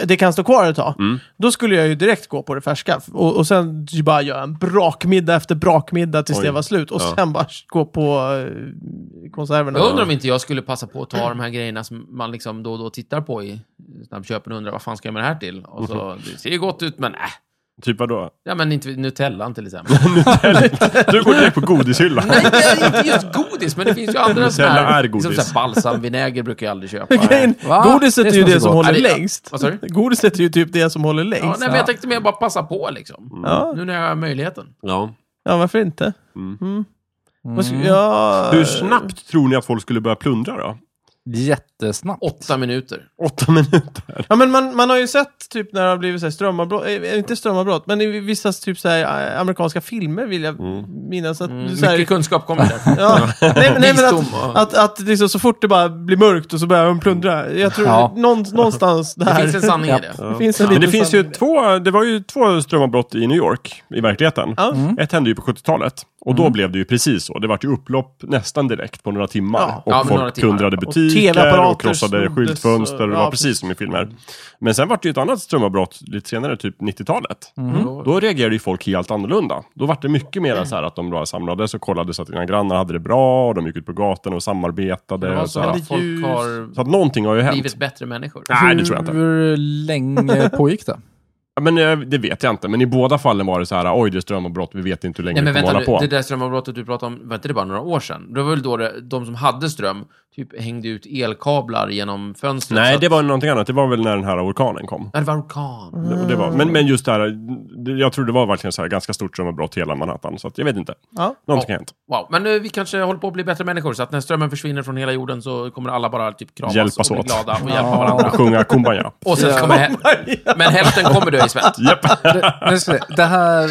Speaker 1: eh, det kan stå kvar ett tag.
Speaker 2: Mm.
Speaker 1: Då skulle jag ju direkt gå på det färska och, och sen ju bara göra en brakmiddag efter brakmiddag tills
Speaker 2: Oj.
Speaker 1: det var slut och
Speaker 2: Ja.
Speaker 1: sen bara gå på eh, konserverna.
Speaker 4: Jag undrar om inte jag skulle passa på att ta de här grejerna som man liksom då och då tittar på i snabbköpen och undrar vad fan ska jag med det här till? Och så,
Speaker 2: Mm.
Speaker 4: det ser ju gott ut, men äh.
Speaker 2: Typ vadå?
Speaker 4: Ja, men inte Nutellan till exempel.
Speaker 2: Du går direkt på godishyllan.
Speaker 4: Nej, nej, inte just godis, men det finns ju andra sådana
Speaker 2: Nutella
Speaker 4: här...
Speaker 2: är godis.
Speaker 4: Liksom så här balsamvinäger brukar jag aldrig köpa.
Speaker 1: Grejen,
Speaker 3: Va?
Speaker 1: godiset
Speaker 3: Det
Speaker 1: är ju
Speaker 3: smakar
Speaker 1: det som
Speaker 3: gott.
Speaker 1: håller
Speaker 4: Ja, det-
Speaker 1: längst.
Speaker 4: Vad sa du?
Speaker 1: Godiset är ju typ det som håller
Speaker 4: Ja,
Speaker 1: längst.
Speaker 4: nej, men jag tänkte mer
Speaker 2: Mm.
Speaker 4: bara passa på liksom.
Speaker 1: Ja.
Speaker 4: Nu när jag har möjligheten.
Speaker 2: Ja.
Speaker 1: Ja, varför inte?
Speaker 2: Mm.
Speaker 1: Mm. Vad sk- Ja,
Speaker 2: Hur snabbt tror ni att folk skulle börja plundra då?
Speaker 3: Jättesnabbt.
Speaker 4: Åtta minuter.
Speaker 2: Åtta minuter?
Speaker 1: Ja, men man, man har ju sett typ när det har blivit så här strömavbrott, eh, eh, inte strömavbrott, men i vissa typ så här, eh, amerikanska filmer vill jag minnas att...
Speaker 4: Mm,
Speaker 1: så här,
Speaker 4: mycket kunskap kommer där.
Speaker 1: ja, nej, men- nej, men
Speaker 4: Visdom
Speaker 1: att,
Speaker 4: och-
Speaker 1: att, att liksom, så fort det bara blir mörkt och så börjar de plundra. Jag tror
Speaker 3: Ja.
Speaker 1: någon, någonstans där.
Speaker 4: Det finns en sanning i det.
Speaker 1: Det finns en
Speaker 2: Men
Speaker 1: liten
Speaker 2: det finns ju
Speaker 1: sanning.
Speaker 2: två, det var ju två strömavbrott i New York, i verkligheten.
Speaker 1: Ja.
Speaker 2: Ett hände ju på 70-talet. Och då blev det ju precis så. Det var ju upplopp nästan direkt på några timmar.
Speaker 1: Ja.
Speaker 2: Och
Speaker 4: Ja, men
Speaker 2: folk
Speaker 4: några timmar.
Speaker 2: plundrade
Speaker 1: Och
Speaker 2: butiker och,
Speaker 1: TV-apparater
Speaker 2: krossade
Speaker 1: snoddes
Speaker 2: skyltfönster.
Speaker 1: och-
Speaker 2: det
Speaker 1: ja,
Speaker 2: var precis som i filmer. Men sen var det ju ett annat strömavbrott lite senare, typ 90-talet.
Speaker 4: Mm.
Speaker 2: Då reagerade ju folk helt annorlunda. Då var det mycket mer så här att de bara samlades och kollade så att dina grannar hade det bra. Och de gick ut på gatorna och samarbetade.
Speaker 4: Det var
Speaker 2: och så,
Speaker 4: så
Speaker 2: här.
Speaker 4: att folk har
Speaker 2: så att någonting har ju hänt.
Speaker 4: blivit bättre människor.
Speaker 2: Nej, det tror jag inte.
Speaker 3: Hur länge pågick det?
Speaker 2: Ja, Men eh, det vet jag inte. Men i båda fallen var det så här, oj det är strömavbrott, vi vet inte hur länge vi
Speaker 4: Nej, men
Speaker 2: kommer
Speaker 4: vänta
Speaker 2: hålla
Speaker 4: nu,
Speaker 2: på.
Speaker 4: det där strömavbrottet du pratade om, var inte det bara några år sedan? Det var väl då det, de som hade ström typ hängde ut elkablar genom fönstret? så
Speaker 2: Nej,
Speaker 4: att-
Speaker 2: det var någonting annat. Det var väl när den här orkanen kom.
Speaker 4: Ja, det var orkan.
Speaker 2: Och Det var, men, men just det här, det- jag tror det var verkligen så här ganska stort strömavbrott i hela Manhattan. Så att jag vet inte.
Speaker 1: Ja.
Speaker 2: Någonting
Speaker 4: Ja.
Speaker 2: har hänt.
Speaker 4: Wow, men eh, vi kanske håller på att bli bättre människor, så att när strömmen försvinner från hela jorden så kommer alla bara typ kramas
Speaker 2: Hjälpas
Speaker 4: och bli
Speaker 2: åt.
Speaker 4: glada och hjälpa
Speaker 3: Ja.
Speaker 4: varandra.
Speaker 2: Sjunga Kumbaya.
Speaker 4: Och sen så kommer hä- men hälften kommer dö i svält.
Speaker 2: Japp.
Speaker 3: det, nu ska vi se. det här...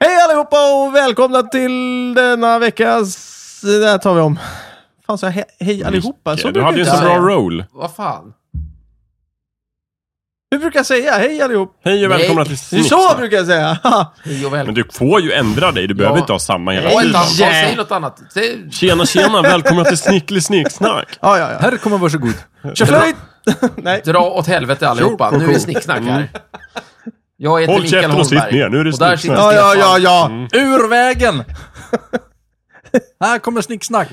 Speaker 1: Hej allihopa och välkomna till denna veckas... Det här tar vi om. Fan, så jag he- hej allihopa? Så
Speaker 2: du
Speaker 1: brukar
Speaker 2: hade
Speaker 1: jag
Speaker 2: ju
Speaker 1: inte
Speaker 2: en så bra
Speaker 1: säga.
Speaker 2: roll.
Speaker 4: Vad fan?
Speaker 1: Hur brukar jag säga? Hej allihop.
Speaker 2: Hej och
Speaker 4: Nej.
Speaker 2: välkomna till
Speaker 1: Det är
Speaker 2: Snicksnack.
Speaker 1: så brukar jag säga.
Speaker 4: Hej och
Speaker 2: Men
Speaker 4: välkommen.
Speaker 2: du får ju ändra dig, du behöver
Speaker 4: Ja.
Speaker 2: inte ha samma hela
Speaker 4: Ja, ett
Speaker 2: tiden.
Speaker 4: annat. Ja, Säg något annat. Säg...
Speaker 2: Tjena, tjena, välkomna till Snicklig Snicksnack.
Speaker 1: ja, ja, ja.
Speaker 3: Här kommer varsågod.
Speaker 1: Kör flöjt! Nej.
Speaker 4: Dra åt helvete allihopa. Nu är det snicksnack här. Jag heter
Speaker 2: Mm. Håll
Speaker 4: Mikael
Speaker 2: käften
Speaker 4: Holmberg.
Speaker 2: och sitt ner. Nu är det
Speaker 4: och där
Speaker 2: snicksnack.
Speaker 4: sitter
Speaker 1: Ja, ja,
Speaker 4: Stefan.
Speaker 1: ja, ja.
Speaker 3: Ur vägen! här kommer snicksnack.